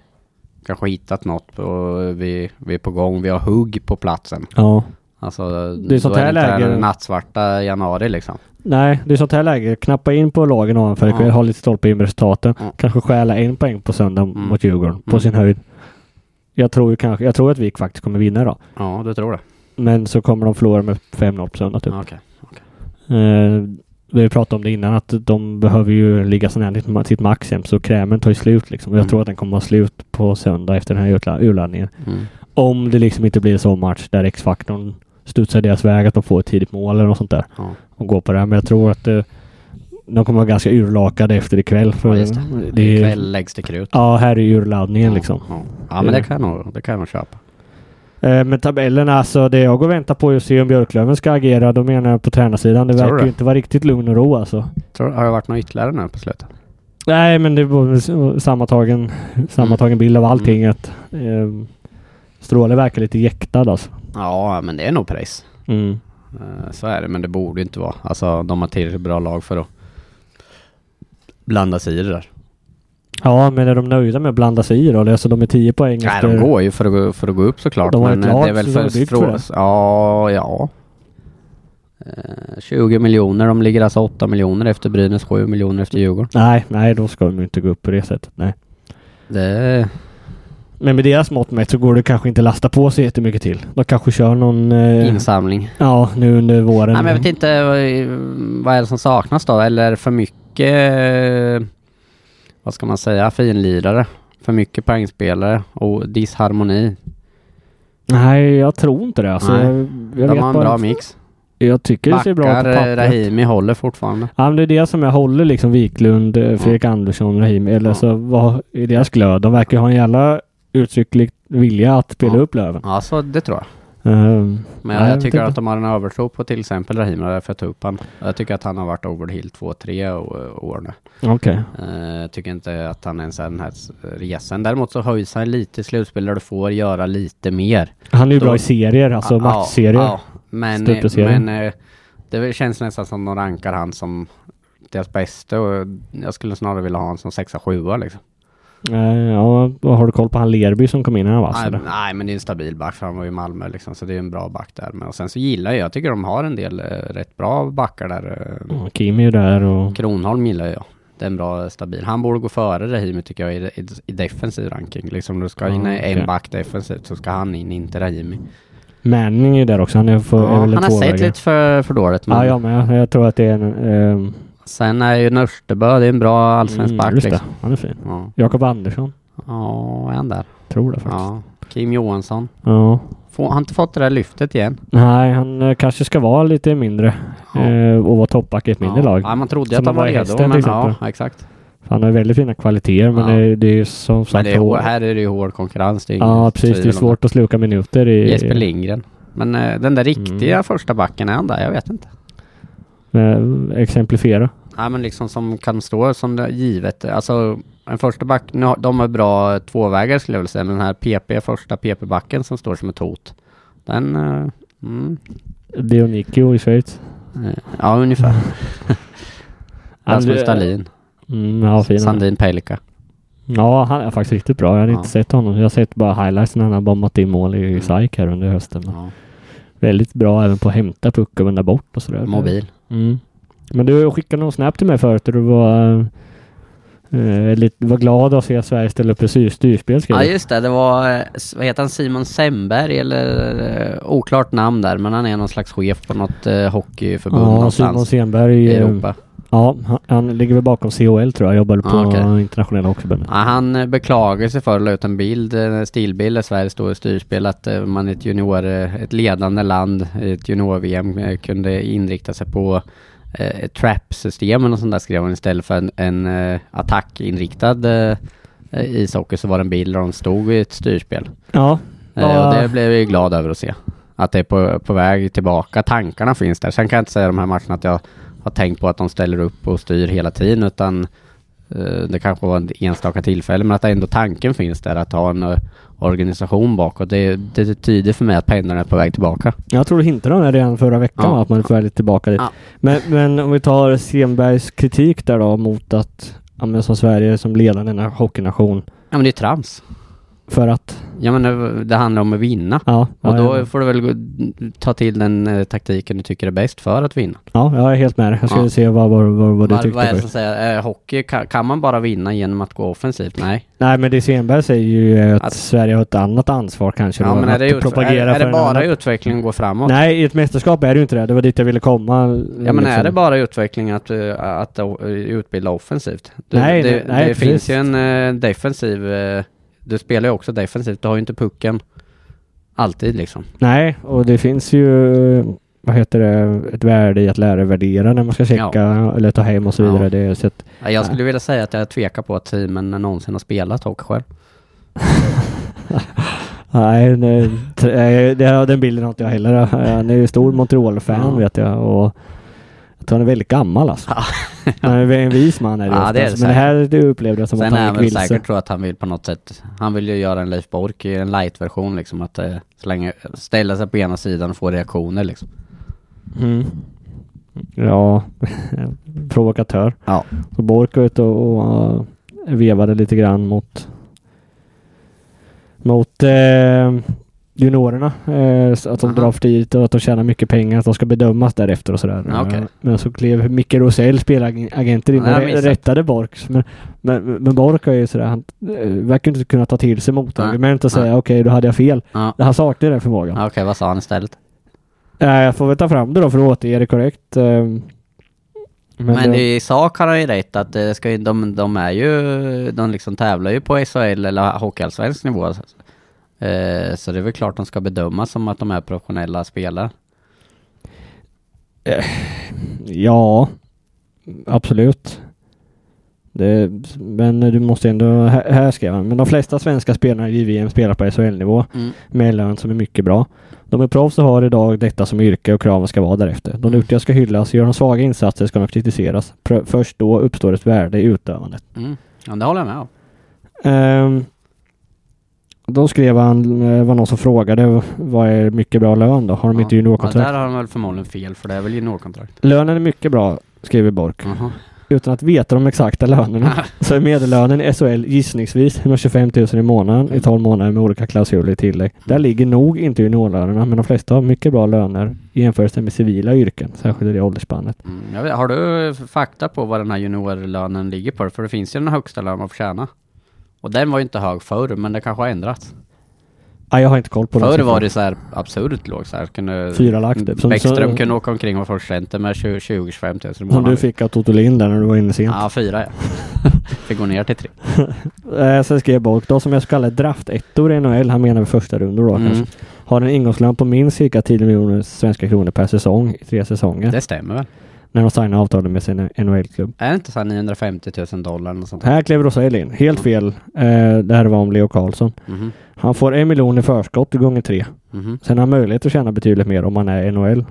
Speaker 2: kanske hittat något och vi, vi är på gång, vi har hugg på platsen.
Speaker 1: Ja.
Speaker 2: Alltså,
Speaker 1: Det är sånt
Speaker 2: då
Speaker 1: här
Speaker 2: det inte
Speaker 1: läge-
Speaker 2: den nattsvarta januari liksom.
Speaker 1: Nej, det är sånt här läge. Knappa in på lagen ovanför
Speaker 2: Ja.
Speaker 1: ikväll, ha lite stolpe in med resultaten.
Speaker 2: Ja.
Speaker 1: Kanske stjäla en poäng på söndag
Speaker 2: Mm.
Speaker 1: mot Djurgården, på
Speaker 2: Mm.
Speaker 1: sin höjd. Jag tror, ju kanske, jag tror att Vik faktiskt kommer vinna då.
Speaker 2: Ja, du tror det?
Speaker 1: Men så kommer de förlora med 5-0 på söndag typ.
Speaker 2: Ja, Okej.
Speaker 1: Eh, vi pratade om det innan att de behöver ju ligga så nära sitt- sitt max jämt, så krämen tar ju slut liksom. Och jag
Speaker 2: Mm.
Speaker 1: tror att den kommer vara slut på söndag efter den här urla- urladdningen.
Speaker 2: Mm.
Speaker 1: Om det liksom inte blir en sån match där X-faktorn studsar deras väg att de får ett tidigt mål eller något sånt där.
Speaker 2: Ja.
Speaker 1: Och går på det. här. Men jag tror att eh, de kommer vara ganska urlakade efter ikväll. För
Speaker 2: ja, just det. Ikväll
Speaker 1: är,
Speaker 2: läggs det krut.
Speaker 1: ja, här är urladdningen liksom.
Speaker 2: Ja, ja men det kan jag nog, det kan jag nog köpa.
Speaker 1: Eh, men tabellen alltså, det jag går och väntar på är att se om Björklöven ska agera. Då menar jag på tränarsidan. Det
Speaker 2: Tror du
Speaker 1: verkar ju
Speaker 2: det?
Speaker 1: inte vara riktigt lugn och ro alltså.
Speaker 2: Tror, har det varit något ytterligare nu på slutet?
Speaker 1: Nej, men det var s- sammantagen,
Speaker 2: Mm.
Speaker 1: sammantagen bild av allting. Att, eh, Stråle verkar lite jäktad alltså.
Speaker 2: Ja, men det är nog press.
Speaker 1: Mm.
Speaker 2: Eh, Så är det, men det borde ju inte vara. Alltså, de har tillräckligt bra lag för att blanda sig i det där.
Speaker 1: Ja, men är de nöjda med att blanda sig i då? Alltså de är 10 poäng
Speaker 2: Nej,
Speaker 1: efter...
Speaker 2: de går ju för att, gå- för att gå upp såklart.
Speaker 1: De har
Speaker 2: men
Speaker 1: ett
Speaker 2: eh,
Speaker 1: lag
Speaker 2: det är väl
Speaker 1: som
Speaker 2: för,
Speaker 1: är byggt
Speaker 2: frå-
Speaker 1: för det.
Speaker 2: Ja, ja. Eh, 20 miljoner, de ligger alltså 8 miljoner efter Brynäs, 7 miljoner efter Djurgården.
Speaker 1: Nej, nej, då ska de ju inte gå upp på det sättet. Nej.
Speaker 2: Det,
Speaker 1: Men med deras mått mätt så går det kanske inte lasta på sig jättemycket till. De kanske kör någon... Eh,
Speaker 2: Insamling.
Speaker 1: ja, nu under våren.
Speaker 2: Nej, men jag vet inte vad, vad är det som saknas då? Eller är det för mycket, eh, vad ska man säga, finlirare? För mycket poängspelare och disharmoni.
Speaker 1: Nej, jag tror inte det. Alltså,
Speaker 2: Nej.
Speaker 1: jag, jag,
Speaker 2: de
Speaker 1: vet
Speaker 2: har en
Speaker 1: bara,
Speaker 2: bra
Speaker 1: inte.
Speaker 2: mix.
Speaker 1: jag tycker det ser bra ut på
Speaker 2: Backar, eh,
Speaker 1: pappret.
Speaker 2: Rahimi håller fortfarande.
Speaker 1: Ja, men det är det som jag håller liksom Wiklund, eh, Fredrik Andersson, Rahim. Eller
Speaker 2: Ja.
Speaker 1: så vad är deras glöd? De verkar ju ha en jävla uttrycklig vilja att spela
Speaker 2: Ja.
Speaker 1: upp Löven.
Speaker 2: Ja, så det tror jag.
Speaker 1: Ehm,
Speaker 2: Men
Speaker 1: Nej,
Speaker 2: jag,
Speaker 1: jag
Speaker 2: tycker
Speaker 1: vet
Speaker 2: att de har en övertro på till exempel Rahimi, och därför jag tog upp han. Jag tycker att han har varit over the hill 2-3 å- år nu.
Speaker 1: Okej.
Speaker 2: Eh, Jag tycker inte att han ens är den här s- resan. Däremot så höjs han lite i slutspel där du får göra lite mer.
Speaker 1: Han är ju
Speaker 2: Då-
Speaker 1: bra i serier, alltså
Speaker 2: Ja,
Speaker 1: matchserier.
Speaker 2: ja. men,
Speaker 1: Stupeserier.
Speaker 2: men eh, det känns nästan som de rankar han som deras bästa och jag skulle snarare vilja ha honom som sexa, sjua liksom.
Speaker 1: Nej, Eh, ja, har du koll på han Lerby som kom in här vass?
Speaker 2: nej,
Speaker 1: eller?
Speaker 2: nej, men det är en stabil back för han var ju i Malmö liksom, så det är en bra back där. Men och sen så gillar jag, jag tycker de har en del eh, rätt bra backar där. Eh,
Speaker 1: Ja, Kim är ju där och...
Speaker 2: Kronholm gillar jag. Det är en bra stabil. Han borde gå före Rahimi tycker jag i, i, i defensiv ranking. Liksom du ska in
Speaker 1: Ja, okej.
Speaker 2: en back defensivt så ska han in, inte Rahimi.
Speaker 1: Manning är ju där också. Han är, för,
Speaker 2: Ja,
Speaker 1: är väl
Speaker 2: han
Speaker 1: en
Speaker 2: har sett
Speaker 1: tvåvägare.
Speaker 2: lite för, för dåligt. Men
Speaker 1: Ja, jag med. Jag tror att det är en... ehm, mm,
Speaker 2: Sen är ju Nörstebö, det är en bra allsvensk back
Speaker 1: just det.
Speaker 2: liksom.
Speaker 1: Han är fin.
Speaker 2: Ja,
Speaker 1: Jakob Andersson.
Speaker 2: ja är han där?
Speaker 1: Tror det faktiskt.
Speaker 2: Ja. Kim Johansson.
Speaker 1: Ja.
Speaker 2: Får, har han inte fått det där lyftet igen?
Speaker 1: Nej, han eh, kanske ska vara lite mindre.
Speaker 2: Ja.
Speaker 1: Eh, och vara toppback i ett mindre
Speaker 2: ja.
Speaker 1: lag.
Speaker 2: Ja, man trodde
Speaker 1: Som
Speaker 2: att han
Speaker 1: var
Speaker 2: var
Speaker 1: i
Speaker 2: redo.
Speaker 1: Hästen, till
Speaker 2: Men,
Speaker 1: exempel.
Speaker 2: ja, exakt.
Speaker 1: För Han har väldigt fina kvaliteter men
Speaker 2: Ja.
Speaker 1: det, det är ju som
Speaker 2: Men
Speaker 1: sagt...
Speaker 2: det är, hår-
Speaker 1: hårt.
Speaker 2: här är det ju hård konkurrens. Det är ingen
Speaker 1: ja precis, det
Speaker 2: tvivel
Speaker 1: är
Speaker 2: om
Speaker 1: svårt att sluka minuter i... Mm.
Speaker 2: Jesper Lindgren. Men eh, den där riktiga första backen, är han där? Jag vet inte.
Speaker 1: eh, exemplifiera.
Speaker 2: Nej men liksom som kan stå som det är givet. Alltså en första back, nu har, de är bra tvåvägar skulle jag vilja säga. Men den här PP, första PP-backen som står som ett hot. Den, eh, mm,
Speaker 1: Dionikio i Schweiz.
Speaker 2: eh, ja ungefär. Rasmus
Speaker 1: Andre-
Speaker 2: Dahlin,
Speaker 1: Mm, ja, fin. han är.
Speaker 2: Sandin Pelika.
Speaker 1: Ja, han är faktiskt riktigt bra. Jag har
Speaker 2: Ja. Mm.
Speaker 1: inte sett honom. Jag har sett bara highlights när han har bombat in mål i SAIK här under hösten.
Speaker 2: Ja.
Speaker 1: Väldigt bra även på att hämta puck och vända bort och sådär.
Speaker 2: Mobil.
Speaker 1: Mm. Men du skickade någon snap till mig förut där du var, eh, lite, var glad att se Sverige ställa upp i sy- styrspel. skrev
Speaker 2: Ja
Speaker 1: du.
Speaker 2: just det, det var, eh, s- vad heter han, Simon Semberg eller eh, oklart namn där. Men han är någon slags chef på något eh, hockeyförbund
Speaker 1: ja Simon
Speaker 2: någonstans
Speaker 1: Stenberg.
Speaker 2: i
Speaker 1: eh,
Speaker 2: Europa.
Speaker 1: Ja, han, han ligger väl bakom COL tror jag. Jobbar på
Speaker 2: Ja, okej.
Speaker 1: internationella hockeyförbundet.
Speaker 2: Ja, han eh, beklagar sig för och la ut en bild, eh, en stilbild där Sverige står i styrspel, att eh, man i ett junior, eh, ett ledande land i ett junior-VM eh, kunde inrikta sig på eh, ett trap-system eller något sånt där skrev han istället för en, en eh, attackinriktad eh, eh, ishockey så var det en bild där de stod i ett styrspel.
Speaker 1: Ja.
Speaker 2: Eh, och
Speaker 1: Ja.
Speaker 2: det blev jag ju glad över att se. Att det är på, på väg tillbaka, tankarna finns där. Sen kan jag inte säga de här matcherna att jag har tänkt på att de ställer upp och styr hela tiden utan eh, det kanske var ett enstaka tillfälle men att ändå tanken finns där att ha en eh, organisation bakåt. Det, det tyder för mig att pendeln är på väg tillbaka.
Speaker 1: Jag tror du hintade om det redan förra veckan
Speaker 2: Ja.
Speaker 1: va, att man är på väg lite tillbaka dit.
Speaker 2: Ja.
Speaker 1: Men, men om vi tar Stenbergs kritik där då mot att ja, men som Sverige som ledande na- hockeynation
Speaker 2: Ja men det är trams.
Speaker 1: för att
Speaker 2: Jag menar eh, det handlar om att vinna.
Speaker 1: ja,
Speaker 2: Och
Speaker 1: ja,
Speaker 2: då
Speaker 1: ja.
Speaker 2: får du väl gå- ta till den eh, taktiken du tycker är bäst för att vinna.
Speaker 1: ja, jag är helt med dig. Jag skulle
Speaker 2: Ja.
Speaker 1: se vad, vad, vad, vad du
Speaker 2: Vad, vad är
Speaker 1: tyckte
Speaker 2: det
Speaker 1: först.
Speaker 2: som säger, eh, hockey, kan, kan man bara vinna genom att gå offensivt? Nej.
Speaker 1: Nej men det Stenberg säger ju är att,
Speaker 2: Att-
Speaker 1: Sverige har ett annat ansvar kanske
Speaker 2: Ja,
Speaker 1: då,
Speaker 2: men
Speaker 1: att
Speaker 2: är det, ut,
Speaker 1: propagera
Speaker 2: är, är
Speaker 1: för
Speaker 2: det
Speaker 1: en
Speaker 2: bara
Speaker 1: annan-
Speaker 2: utvecklingen går framåt?
Speaker 1: Nej i ett mästerskap är det ju inte det. Det var dit jag ville komma.
Speaker 2: Ja men är
Speaker 1: liksom.
Speaker 2: det bara utveckling att, eh, att eh, utbilda offensivt? Du,
Speaker 1: Nej,
Speaker 2: det
Speaker 1: nej, nej,
Speaker 2: det
Speaker 1: precis.
Speaker 2: finns ju en eh, defensiv, eh, du spelar ju också defensivt, du har ju inte pucken alltid liksom.
Speaker 1: Nej, och det finns ju vad heter det, ett värde i att lära värdera när man ska checka eller ta hem och så vidare.
Speaker 2: Ja.
Speaker 1: Det, är- så att,
Speaker 2: Ja, Jag skulle vilja säga att jag tvekar på att teamen någonsin har spelat hockey själv.
Speaker 1: nej, nej, t- nej, det, ja, den bilden har inte jag heller. Han är ju stor Montreal-fan
Speaker 2: Ja.
Speaker 1: vet jag och jag tror han är väldigt gammal alltså. Han är en vis man är det,
Speaker 2: Ja,
Speaker 1: oftast,
Speaker 2: det är det
Speaker 1: Men det här det upplevde jag som
Speaker 2: Sen
Speaker 1: att
Speaker 2: är
Speaker 1: han
Speaker 2: han
Speaker 1: gick
Speaker 2: väl
Speaker 1: vilse.
Speaker 2: säkert tror att han vill på något sätt, han vill ju göra en Leif Boork i en light-version liksom, att eh, slänga, ställa sig på ena sidan och få reaktioner liksom.
Speaker 1: Mm. Ja, provokatör.
Speaker 2: Ja.
Speaker 1: Så Bork var ute och, och eh, vevade lite grann mot mot eh, juniorerna. Eh, så att de
Speaker 2: Aha.
Speaker 1: drar för dit och att de tjänar mycket pengar. Att de ska bedömas därefter och sådär.
Speaker 2: Ja, okej.
Speaker 1: Eh, Men så klev Micke Rosell, spelagenter, in och
Speaker 2: Ja, jag
Speaker 1: rä-
Speaker 2: minns det.
Speaker 1: rättade Bork. Men, men, men Bork är ju sådär, han eh, verkar inte kunna ta till sig motargument och
Speaker 2: Nej.
Speaker 1: säga okej, då hade jag fel.
Speaker 2: Ja.
Speaker 1: Han saknar den förmågan.
Speaker 2: Ja, Okej, vad sa han istället?
Speaker 1: Nej, jag får väl ta fram det då för att återge det korrekt. eh, Men,
Speaker 2: Men,
Speaker 1: det,
Speaker 2: i sak har han ju rätt att det ska ju, de, de är ju, de liksom tävlar ju på SHL eller hockeyallsvensk nivå. Eh, så det är väl klart de ska bedömas som att de är professionella spelare.
Speaker 1: ja, absolut. Det, men du måste ändå, här, här skrev han, men de flesta svenska spelarna i VM spelar på SHL-nivå med en lön som är mycket bra. De är proffs och har idag detta som yrke och kraven ska vara därefter.
Speaker 2: Mm.
Speaker 1: De duktiga ska hyllas, gör de svaga insatser ska de kritiseras. Pr- först då uppstår ett värde i utövandet.
Speaker 2: Mm. Ja, det håller jag med om.
Speaker 1: Ehm, då skrev han, eh, var någon som frågade vad är mycket bra lön då? Har de
Speaker 2: ja.
Speaker 1: inte
Speaker 2: Ja,
Speaker 1: juniorkontrakt?
Speaker 2: där har de väl förmodligen fel för det är väl juniorkontrakt.
Speaker 1: Lönen är mycket bra, skriver Bork.
Speaker 2: Jaha.
Speaker 1: Utan att veta de exakta lönerna så är medellönen i SHL gissningsvis 125 000 i månaden
Speaker 2: Mm.
Speaker 1: i 12 månader med olika klausuler i tillägg. Där ligger nog inte juniorlönerna men de flesta har mycket bra löner i jämförelse med civila yrken, särskilt i det åldersspannet.
Speaker 2: Mm. Jag vet, har du fakta på vad den här juniorlönen ligger på? För det finns ju den högsta lönen man får tjäna. Och den var ju inte hög förr, men det kanske har ändrats.
Speaker 1: Ah, jag har inte koll på de
Speaker 2: Förr
Speaker 1: siffrorna.
Speaker 2: var det så här absurt låg så här. Kunde
Speaker 1: Fyra lax typ. Som,
Speaker 2: Mm. Bäckström
Speaker 1: som,
Speaker 2: kunde åka omkring och vara förstcenter med 20-25 000 i
Speaker 1: som du
Speaker 2: månaden.
Speaker 1: fick av Totolin där när du var inne sent.
Speaker 2: Ja, fyra ja. Fick gå ner till tre.
Speaker 1: Eh, sen skrev Bork, de som är så kallade draftettor i NHL, han menar vid första rundor då
Speaker 2: Mm,
Speaker 1: kanske, har en ingångslön på minst cirka 10 miljoner svenska kronor per säsong i tre säsonger.
Speaker 2: det stämmer väl?
Speaker 1: när de signar avtalet med sin NHL-klubb.
Speaker 2: Är det inte så här 950 000 dollar eller något sånt?
Speaker 1: Här klev Rosell in. Helt fel. Eh, det här var om Leo Karlsson.
Speaker 2: Mhm.
Speaker 1: Han får en miljon i förskott gånger tre.
Speaker 2: Mhm.
Speaker 1: Sen har han möjlighet att tjäna betydligt mer om han är NHL.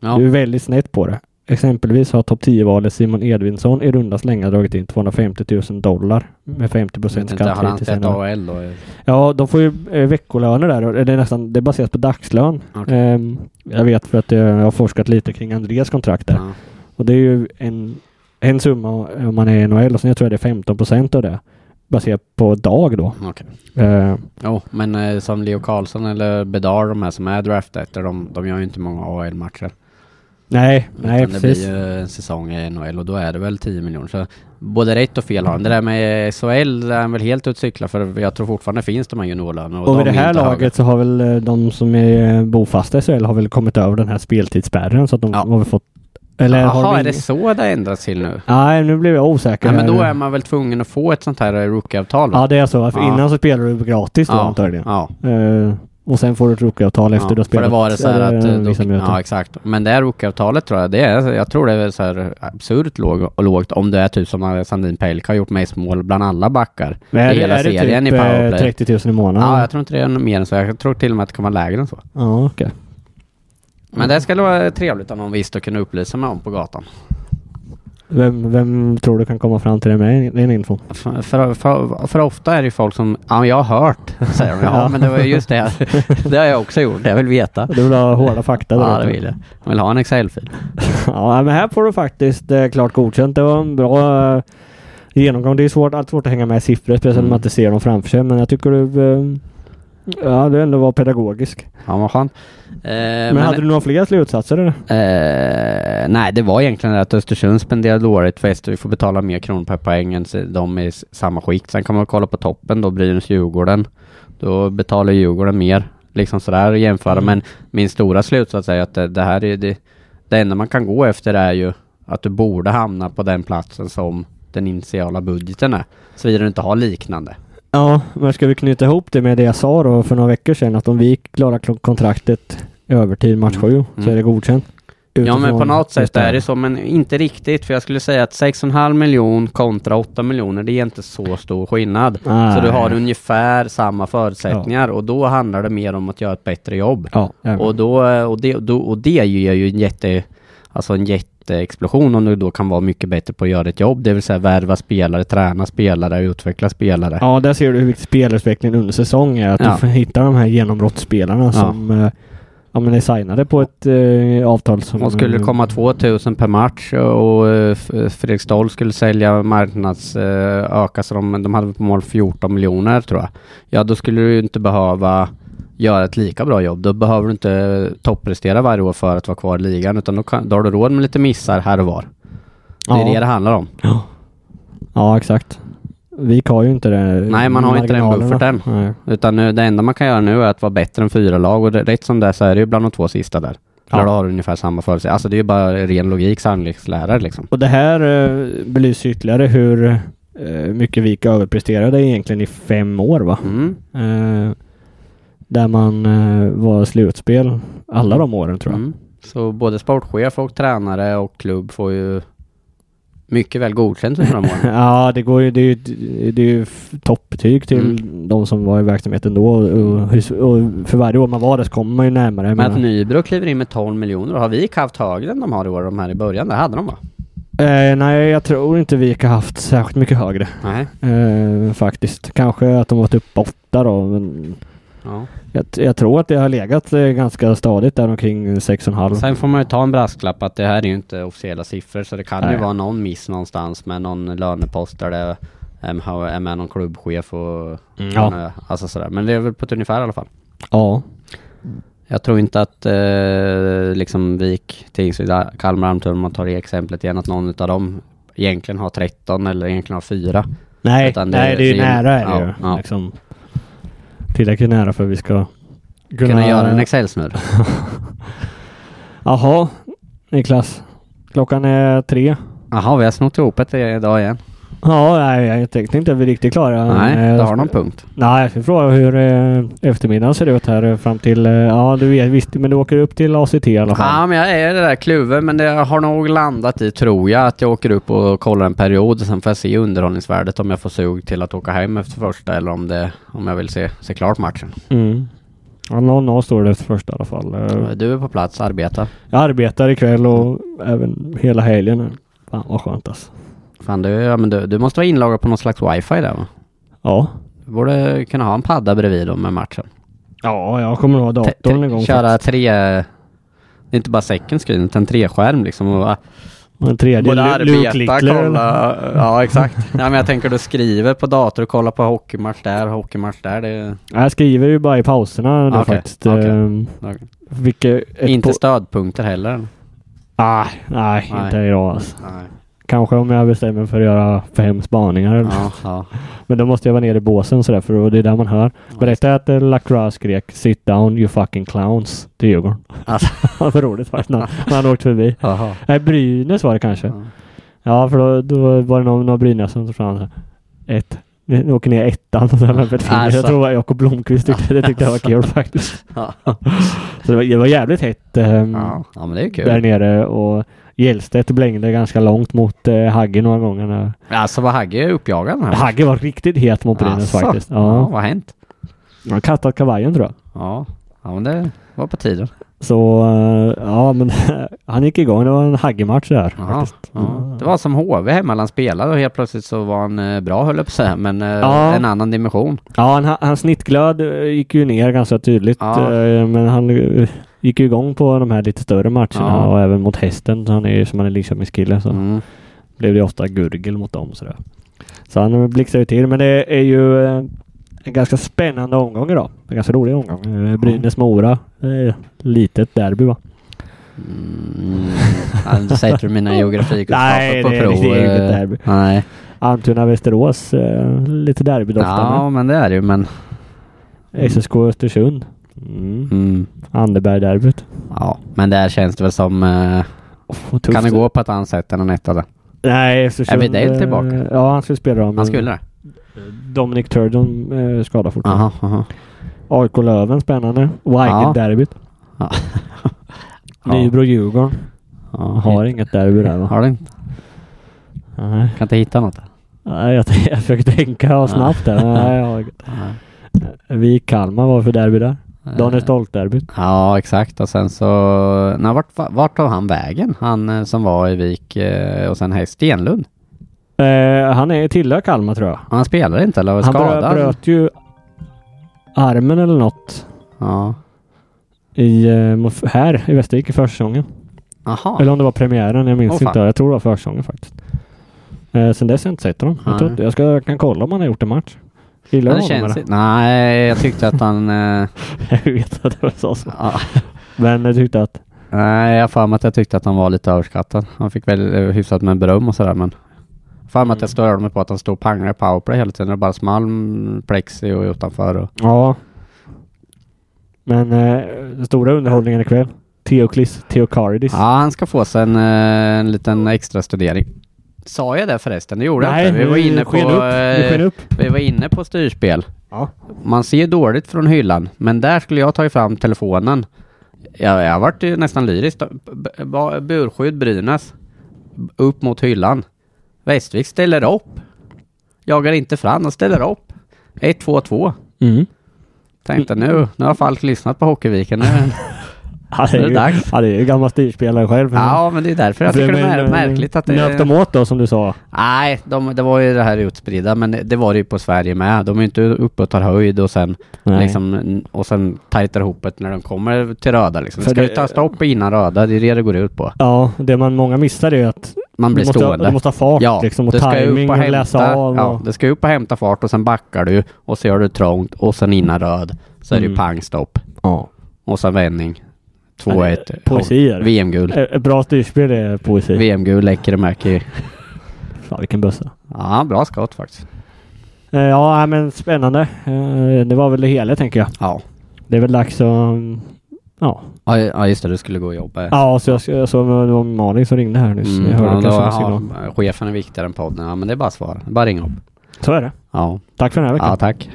Speaker 2: Ja.
Speaker 1: Du är väldigt snett på det. Exempelvis har topp 10-valet Simon Edvinsson i runda slängar dragit in 250 000 dollar med 50
Speaker 2: Jag vet
Speaker 1: procent
Speaker 2: inte, har
Speaker 1: skatt
Speaker 2: Mm, han
Speaker 1: hittills.
Speaker 2: inte ett
Speaker 1: ännu.
Speaker 2: AL då?
Speaker 1: Ja, de får ju eh, veckolöner där. och Det är nästan det är baserat på dagslön.
Speaker 2: Okej.
Speaker 1: Ehm, jag vet för att eh, jag har forskat lite kring Andreas kontrakt där.
Speaker 2: Ja.
Speaker 1: Och det är ju en, en summa om man är i NHL och sen jag tror jag det är 15 procent av det. Baserat på dag då.
Speaker 2: Okej.
Speaker 1: Ehm,
Speaker 2: Jo, men eh, som Leo Karlsson eller Bedard, de här som är draftade, de, de gör ju inte många AL-matcher.
Speaker 1: nej, nej
Speaker 2: Utan det blir
Speaker 1: precis.
Speaker 2: ju en säsong i NHL och då är det väl 10 miljoner. Så både rätt och fel har han. Det där med SHL är han väl helt ute och cyklar för jag tror fortfarande finns de här juniorlönerna.
Speaker 1: Och vid
Speaker 2: de
Speaker 1: det
Speaker 2: är
Speaker 1: här
Speaker 2: inte höga.
Speaker 1: laget så har väl eh, de som är eh, bofasta i SHL har väl kommit över den här speltidsspärren så att de
Speaker 2: Ja.
Speaker 1: har väl fått... Eller har de
Speaker 2: Jaha, är
Speaker 1: ing-
Speaker 2: det så det ändras till nu?
Speaker 1: Nej, nu blev jag osäker.
Speaker 2: Ja, men då
Speaker 1: här.
Speaker 2: är man väl tvungen att få ett sånt här eh, rookieavtal? va?
Speaker 1: Ja, det är så. För
Speaker 2: Ja.
Speaker 1: Innan så spelar du gratis då antagligen.
Speaker 2: Ja.
Speaker 1: Eh, och sen får du ett rookieavtal efter
Speaker 2: ja.
Speaker 1: du har
Speaker 2: För
Speaker 1: spelat
Speaker 2: det var det så här att...
Speaker 1: eh,
Speaker 2: eh,
Speaker 1: vissa
Speaker 2: Då,
Speaker 1: minuter.
Speaker 2: ja, exakt. Men det här rookieavtalet tror jag, det är, jag tror det är så här absurt låg, lågt om det är typ som eh, Sandin Pelka har gjort med mål bland alla backar.
Speaker 1: Men är,
Speaker 2: I hela
Speaker 1: är det
Speaker 2: serien
Speaker 1: typ
Speaker 2: i powerplay.
Speaker 1: eh, 30 000 i månaden?
Speaker 2: Ja, jag tror inte det är mer än så. Jag tror till och med att det kan vara lägre än så.
Speaker 1: Ja, okej.
Speaker 2: Men det skulle vara trevligt om någon visste och kunde upplysa mig om på gatan.
Speaker 1: Vem, vem tror du kan komma fram till det med den infon?
Speaker 2: För, för, för, för ofta är det ju folk som, ja men jag har hört, säger de. Ja
Speaker 1: Ja.
Speaker 2: men det var ju just det. här. Det har jag också gjort, jag vill veta.
Speaker 1: Du vill ha hårda fakta? där
Speaker 2: Ja
Speaker 1: ute.
Speaker 2: det vill jag. Jag vill ha en Excel-fil.
Speaker 1: Ja, men här får du faktiskt eh, klart godkänt. Det var en bra eh, genomgång. Det är svårt, alltid svårt att hänga med i siffror, speciellt när
Speaker 2: Mm.
Speaker 1: man inte ser dem framför sig. Men jag tycker du... Eh, ja, du ändå var pedagogisk.
Speaker 2: Ja vad skönt. Eh, men
Speaker 1: Men, hade du några fler slutsatser? Eller?
Speaker 2: eh, nej det var egentligen det att Östersund spenderade dåligt för vi får betala mer kronor per poäng än s- de i s- samma skikt. Sen kan man kolla på toppen då, Brynäs-Djurgården. Då betalar Djurgården mer. Liksom sådär jämföra.
Speaker 1: Mm.
Speaker 2: Men min stora slutsats är ju att det, det här är det, det enda man kan gå efter är ju att du borde hamna på den platsen som den initiala budgeten är. Såvida du inte har liknande.
Speaker 1: Ja, men ska vi knyta ihop det med det jag sa då för några veckor sedan? Att om vi klarar kl- kontraktet i övertid match 7 så
Speaker 2: Mm.
Speaker 1: är det godkänt.
Speaker 2: Ja men på
Speaker 1: Utifrån
Speaker 2: något sätt
Speaker 1: just här.
Speaker 2: är det så, men inte riktigt. För jag skulle säga att 6,5 miljon kontra 8 miljoner, det är inte så stor skillnad.
Speaker 1: Nej.
Speaker 2: Så du har ungefär samma förutsättningar och då handlar det mer om att göra ett bättre jobb.
Speaker 1: Ja, ja.
Speaker 2: Och, då, eh, och, det, då, och det ger ju en jätte, alltså en jätteexplosion om du då kan vara mycket bättre på att göra ett jobb. Det vill säga värva spelare, träna spelare, utveckla spelare.
Speaker 1: ja, där ser du hur viktig spelutvecklingen under säsong är. Att
Speaker 2: Ja.
Speaker 1: du hittar de här genombrottsspelarna som eh, ja, men är signade på ett eh, avtal som...
Speaker 2: Och skulle det komma 2000 per match och eh, F- Fredrik Stoll skulle sälja marknads eh, öka så de, de hade på mål 14 miljoner tror jag. Ja, då skulle du ju inte behöva göra ett lika bra jobb. Då behöver du inte topprestera varje år för att vara kvar i ligan utan då, kan, då har du råd med lite missar här och var. Det är
Speaker 1: Ja.
Speaker 2: det det handlar om.
Speaker 1: Ja, exakt. Vi har ju inte det.
Speaker 2: Nej, man har inte den
Speaker 1: marginalerna.
Speaker 2: bufferten.
Speaker 1: Nej.
Speaker 2: Utan nu, det enda man kan göra nu är att vara bättre än fyra lag och det, rätt som det är så är det ju bland de två sista där.
Speaker 1: Ja.
Speaker 2: Där du har ungefär samma förutsättningar. Alltså det är ju bara ren logik sannolikhetslära liksom.
Speaker 1: Och det här eh, belyser ytterligare hur eh, mycket Vik överpresterade egentligen i fem år va?
Speaker 2: Mm.
Speaker 1: Eh, där man eh, var slutspel alla de åren tror jag.
Speaker 2: Mm. Så både sportchef och tränare och klubb får ju mycket väl godkänt under de åren.
Speaker 1: Ja, det går ju, det är ju, det är ju f- toppbetyg till
Speaker 2: Mm.
Speaker 1: de som var i verksamheten då. Och, och, och för varje år man var där så kommer man ju närmare. Jag
Speaker 2: Men att
Speaker 1: menar,
Speaker 2: Nybro kliver in med 12 miljoner, har vi haft högre än de har i år, de här i början? Det hade de va?
Speaker 1: eh, nej, jag tror inte Vik har haft särskilt mycket högre.
Speaker 2: Nej.
Speaker 1: Eh, faktiskt. Kanske att de varit uppe åtta då. Men
Speaker 2: Ja.
Speaker 1: jag, jag tror att det har legat eh, ganska stadigt där omkring 6,5.
Speaker 2: Sen får man ju ta en brasklapp att det här är ju inte officiella siffror så det kan ju
Speaker 1: Nej.
Speaker 2: vara någon miss någonstans med någon lönepost där det är- har- är med någon klubbchef och
Speaker 1: Mm. Ja.
Speaker 2: alltså sådär. Men det är väl på ett ungefär i alla fall.
Speaker 1: ja.
Speaker 2: Jag tror inte att eh, liksom Vik, Tingsryd, Kalmar, Almtuna, om man tar det exemplet igen, att någon utav dem egentligen har 13 eller egentligen har 4.
Speaker 1: Nej,
Speaker 2: Utan det-
Speaker 1: nej, det är ju
Speaker 2: det är ju-
Speaker 1: nära är det
Speaker 2: ja,
Speaker 1: ju.
Speaker 2: ja.
Speaker 1: Liksom, tillräckligt nära för att vi ska kunna,
Speaker 2: Kunna göra en Excel-snurr.
Speaker 1: Jaha, Niklas. Klockan är tre.
Speaker 2: Jaha, vi har snott ihop det idag igen.
Speaker 1: Ja, nej, jag tänkte inte att vi är riktigt klara.
Speaker 2: Nej,
Speaker 1: Eh,
Speaker 2: det har någon punkt.
Speaker 1: Nej, jag ska fråga hur eh, eftermiddagen ser ut här eh, fram till... Eh, ja, du vet visst, men du åker upp till ACT i alla fall.
Speaker 2: Ja, men jag är det där kluven, men det har nog landat i, tror jag, att jag åker upp och kollar en period. Sen får jag se underhållningsvärdet om jag får sug till att åka hem efter första eller om, det, om jag vill se, se klart matchen.
Speaker 1: Mm. Ja, 0-0 står det efter första i alla fall. Eh,
Speaker 2: Du är på plats, arbeta.
Speaker 1: Jag arbetar ikväll och även hela helgen. nu. Fan vad skönt alltså.
Speaker 2: Fan, du, ja, men du, du måste vara inloggad på någon slags wifi där va?
Speaker 1: Ja.
Speaker 2: Du borde kunna ha en padda bredvid dem med matchen.
Speaker 1: Ja, jag kommer nog ha
Speaker 2: Te- te-
Speaker 1: datorn igång.
Speaker 2: Köra tre... Det är inte bara second screen, utan treskärm liksom. Och, ah,
Speaker 1: Den tredje,
Speaker 2: Både
Speaker 1: Lu- Luke
Speaker 2: arbeta,
Speaker 1: Lickler.
Speaker 2: kolla. Ja, exakt. Nej, men jag tänker du skriver på dator och kollar på hockeymatch där, hockeymatch där. Det,
Speaker 1: Jag skriver ju bara i pauserna nu
Speaker 2: Ah, Okej,
Speaker 1: faktiskt.
Speaker 2: okej.
Speaker 1: Ehm,
Speaker 2: Okej.
Speaker 1: Vilket... ett
Speaker 2: inte
Speaker 1: po-
Speaker 2: stödpunkter heller.
Speaker 1: ah, nej,
Speaker 2: Nej.
Speaker 1: inte idag alltså.
Speaker 2: Nej.
Speaker 1: Kanske om jag bestämmer för att göra fem spaningar. eller-
Speaker 2: Ja, ja.
Speaker 1: Men då måste jag vara nere i båsen sådär för det är där man hör. Berätta att eh, Lacrosse skrek “Sit down you fucking clowns” till Djurgården.
Speaker 2: Alltså.
Speaker 1: Vad roligt var det när när han åkte förbi.
Speaker 2: Jaha. Mm.
Speaker 1: Nej, Brynäs var det kanske.
Speaker 2: Ja.
Speaker 1: Ja, för då, då var det någon, någon Brynäs som tog fram det. Ett. Nu åker ner ettan och sen har jag ett finger.
Speaker 2: Alltså.
Speaker 1: Jag tror det var Jakob Blomqvist tyckte det tyckte jag var kul faktiskt.
Speaker 2: Ja.
Speaker 1: Så det var, det var jävligt hett ehm,
Speaker 2: ja, men det är ju
Speaker 1: där
Speaker 2: kul.
Speaker 1: nere och Hjälstedt blängde ganska långt mot eh, Hagge några gånger. När,
Speaker 2: Alltså vad Hagge är uppjagad den här.
Speaker 1: Hagge var riktigt het mot Brynäs
Speaker 2: Asså.
Speaker 1: faktiskt.
Speaker 2: Ja,
Speaker 1: Ja.
Speaker 2: vad har hänt?
Speaker 1: Han kastat kavajen tror jag.
Speaker 2: Ja. ja, men det var på tiden.
Speaker 1: Så eh, ja, men han gick igång. Det var en Hagge-match där.
Speaker 2: Ja,
Speaker 1: faktiskt.
Speaker 2: ja. Det var som HV hemma, han spelade och helt plötsligt så var han eh, bra höll jag på att säga, men eh,
Speaker 1: Ja.
Speaker 2: en annan dimension.
Speaker 1: Ja, han, hans snittglöd eh, gick ju ner ganska tydligt.
Speaker 2: Ja.
Speaker 1: eh, Men han eh, gick ju igång på de här lite större matcherna
Speaker 2: Ja.
Speaker 1: och även mot hästen. Så han är ju som han är Linköpingskille så
Speaker 2: Mm.
Speaker 1: blev det ofta gurgel mot dem. Sådär. Så han blixtrar ju till. Men det är ju eh, en ganska spännande omgång idag. En ganska rolig omgång. Eh, Brynäs-Mora. eh, Litet derby va?
Speaker 2: Mm. Ja, du säger till mina
Speaker 1: Nej,
Speaker 2: geografikunskaper på
Speaker 1: det är-
Speaker 2: prov.
Speaker 1: det är ju
Speaker 2: eh,
Speaker 1: inget derby.
Speaker 2: Nej.
Speaker 1: Almtuna-Västerås. eh, Lite derbydoft.
Speaker 2: Ja, men det är det ju, men...
Speaker 1: med. SSK-Östersund. Mm.
Speaker 2: Mm.
Speaker 1: Anderberg-derbyt.
Speaker 2: Ja, men där känns det väl som... Eh,
Speaker 1: Oh,
Speaker 2: kan det gå på ett annat sätt än en etta där?
Speaker 1: Nej, Östersund...
Speaker 2: Abby Dale
Speaker 1: eh,
Speaker 2: tillbaka?
Speaker 1: Ja, han skulle spela dem.
Speaker 2: Han skulle det?
Speaker 1: Dominic Turdon eh, skadar fortfarande.
Speaker 2: Aha, aha.
Speaker 1: AIK Löven, spännande. Wigan-derbyt.
Speaker 2: Ja. Ja.
Speaker 1: Nybro-Djurgården.
Speaker 2: Ja,
Speaker 1: Har
Speaker 2: hit-
Speaker 1: inget derby där va?
Speaker 2: Har du inte?
Speaker 1: Nej,
Speaker 2: Kan inte hitta något?
Speaker 1: Nej, jag, t- jag försöker tänka snabbt där. men Nej, jag har inget.
Speaker 2: Nej.
Speaker 1: Vik-Kalmar, vad var det för derby där? Daniel
Speaker 2: Eh,
Speaker 1: Stolt-derbyt.
Speaker 2: Ja, exakt. Och sen så... Nej, vart, vart tog han vägen? Han eh, som var i Vik eh, och sen här i Stenlund.
Speaker 1: Eh, han är tillhör Kalmar tror jag.
Speaker 2: Han spelade inte eller var
Speaker 1: Han
Speaker 2: skadad?
Speaker 1: brö- bröt ju armen eller något
Speaker 2: Ja.
Speaker 1: i, eh, mot- här i Västervik i försäsongen.
Speaker 2: Aha.
Speaker 1: Eller om det var premiären, jag minns
Speaker 2: Åh, fan.
Speaker 1: inte. Jag tror det var försäsongen faktiskt. Eh, sen dess har jag inte sett honom. Jag,
Speaker 2: Nej.
Speaker 1: tror, inte- jag, ska, jag kan kolla om han har gjort en match. Gillar
Speaker 2: Men
Speaker 1: du
Speaker 2: det
Speaker 1: honom eller?
Speaker 2: känns... i- Nej, jag tyckte att han... Eh,
Speaker 1: Jag vet att det var så. så.
Speaker 2: ja.
Speaker 1: Men jag tyckte att...
Speaker 2: Nej, jag har för mig att jag tyckte att han var lite överskattad. Han fick väl eh, hyfsat med beröm och sådär men... jag har för mig att jag störde mig på att han stod och pangade i powerplay hela tiden. Det bara small mm, plexi och utanför och...
Speaker 1: Ja. Men eh, den stora underhållningen ikväll. Theoklis Theokaridis.
Speaker 2: Ja, han ska få sig en, eh, en liten extra studering. Sa jag det förresten? Det gjorde jag
Speaker 1: Nej,
Speaker 2: inte. Vi var
Speaker 1: nu
Speaker 2: inne på...
Speaker 1: sken upp. Nu
Speaker 2: eh,
Speaker 1: sken upp.
Speaker 2: Vi var inne på styrspel.
Speaker 1: Ja.
Speaker 2: Man ser dåligt från hyllan, men där skulle jag ta fram telefonen. Jag, jag vart ju nästan lyrisk. B- b- Burskydd Brynäs. B- Upp mot hyllan. Västervik ställer upp. Jagar inte fram, de ställer upp. 1-2-2.
Speaker 1: Mm.
Speaker 2: Tänkte nu, nu har Falk lyssnat på Hockeyviken. Nu.
Speaker 1: Han är,
Speaker 2: Nu är det
Speaker 1: ju,
Speaker 2: dags.
Speaker 1: han är ju gammal styrspelare själv.
Speaker 2: ja, men det är därför jag
Speaker 1: För
Speaker 2: tycker det
Speaker 1: men,
Speaker 2: är
Speaker 1: eh,
Speaker 2: märkligt att det...
Speaker 1: Nöp dem åt då som du sa.
Speaker 2: Nej, de, det var ju det här utspridda, men det var det ju på Sverige med. De är ju inte uppe och tar höjd och sen,
Speaker 1: Nej.
Speaker 2: liksom, och sen tajtar ihop det när de kommer till röda. Liksom. Det
Speaker 1: För
Speaker 2: ska
Speaker 1: det-
Speaker 2: ju ta stopp innan röda, det är det det går ut på.
Speaker 1: Ja, det man många missar är ju att
Speaker 2: Man blir
Speaker 1: du, måste ha,
Speaker 2: stående.
Speaker 1: du måste ha fart
Speaker 2: ja,
Speaker 1: liksom, och
Speaker 2: du ska ju
Speaker 1: timing
Speaker 2: upp och
Speaker 1: och,
Speaker 2: hämta,
Speaker 1: läsa av.
Speaker 2: ja,
Speaker 1: och,
Speaker 2: du ska ju upp och hämta fart och sen backar du och så gör du trångt och sen innan röd så är det ju
Speaker 1: Mm.
Speaker 2: pang stopp och sen vändning. 2-1.
Speaker 1: Poesi är det.
Speaker 2: VM-guld.
Speaker 1: Eh, Ett ett bra styrspel är poesi.
Speaker 2: VM-guld, Lekkerimäki.
Speaker 1: Fan vilken bössa.
Speaker 2: Ja, bra skott faktiskt.
Speaker 1: Eh, Ja, nej, men spännande. Eh, Det var väl det hela tänker jag.
Speaker 2: Ja.
Speaker 1: Det är väl dags att mm, Ja.
Speaker 2: Ja, ja just det, du skulle gå och jobba.
Speaker 1: Ja, så jag, jag såg det var Malin som ringde här nyss. jag hörde
Speaker 2: Mm,
Speaker 1: kanske
Speaker 2: ja, då,
Speaker 1: en signal.
Speaker 2: ja, chefen är viktigare än podden. Ja, men det är bara att svara. Bara ringa upp.
Speaker 1: Så är det.
Speaker 2: Ja,
Speaker 1: Tack för den här veckan.
Speaker 2: ja tack.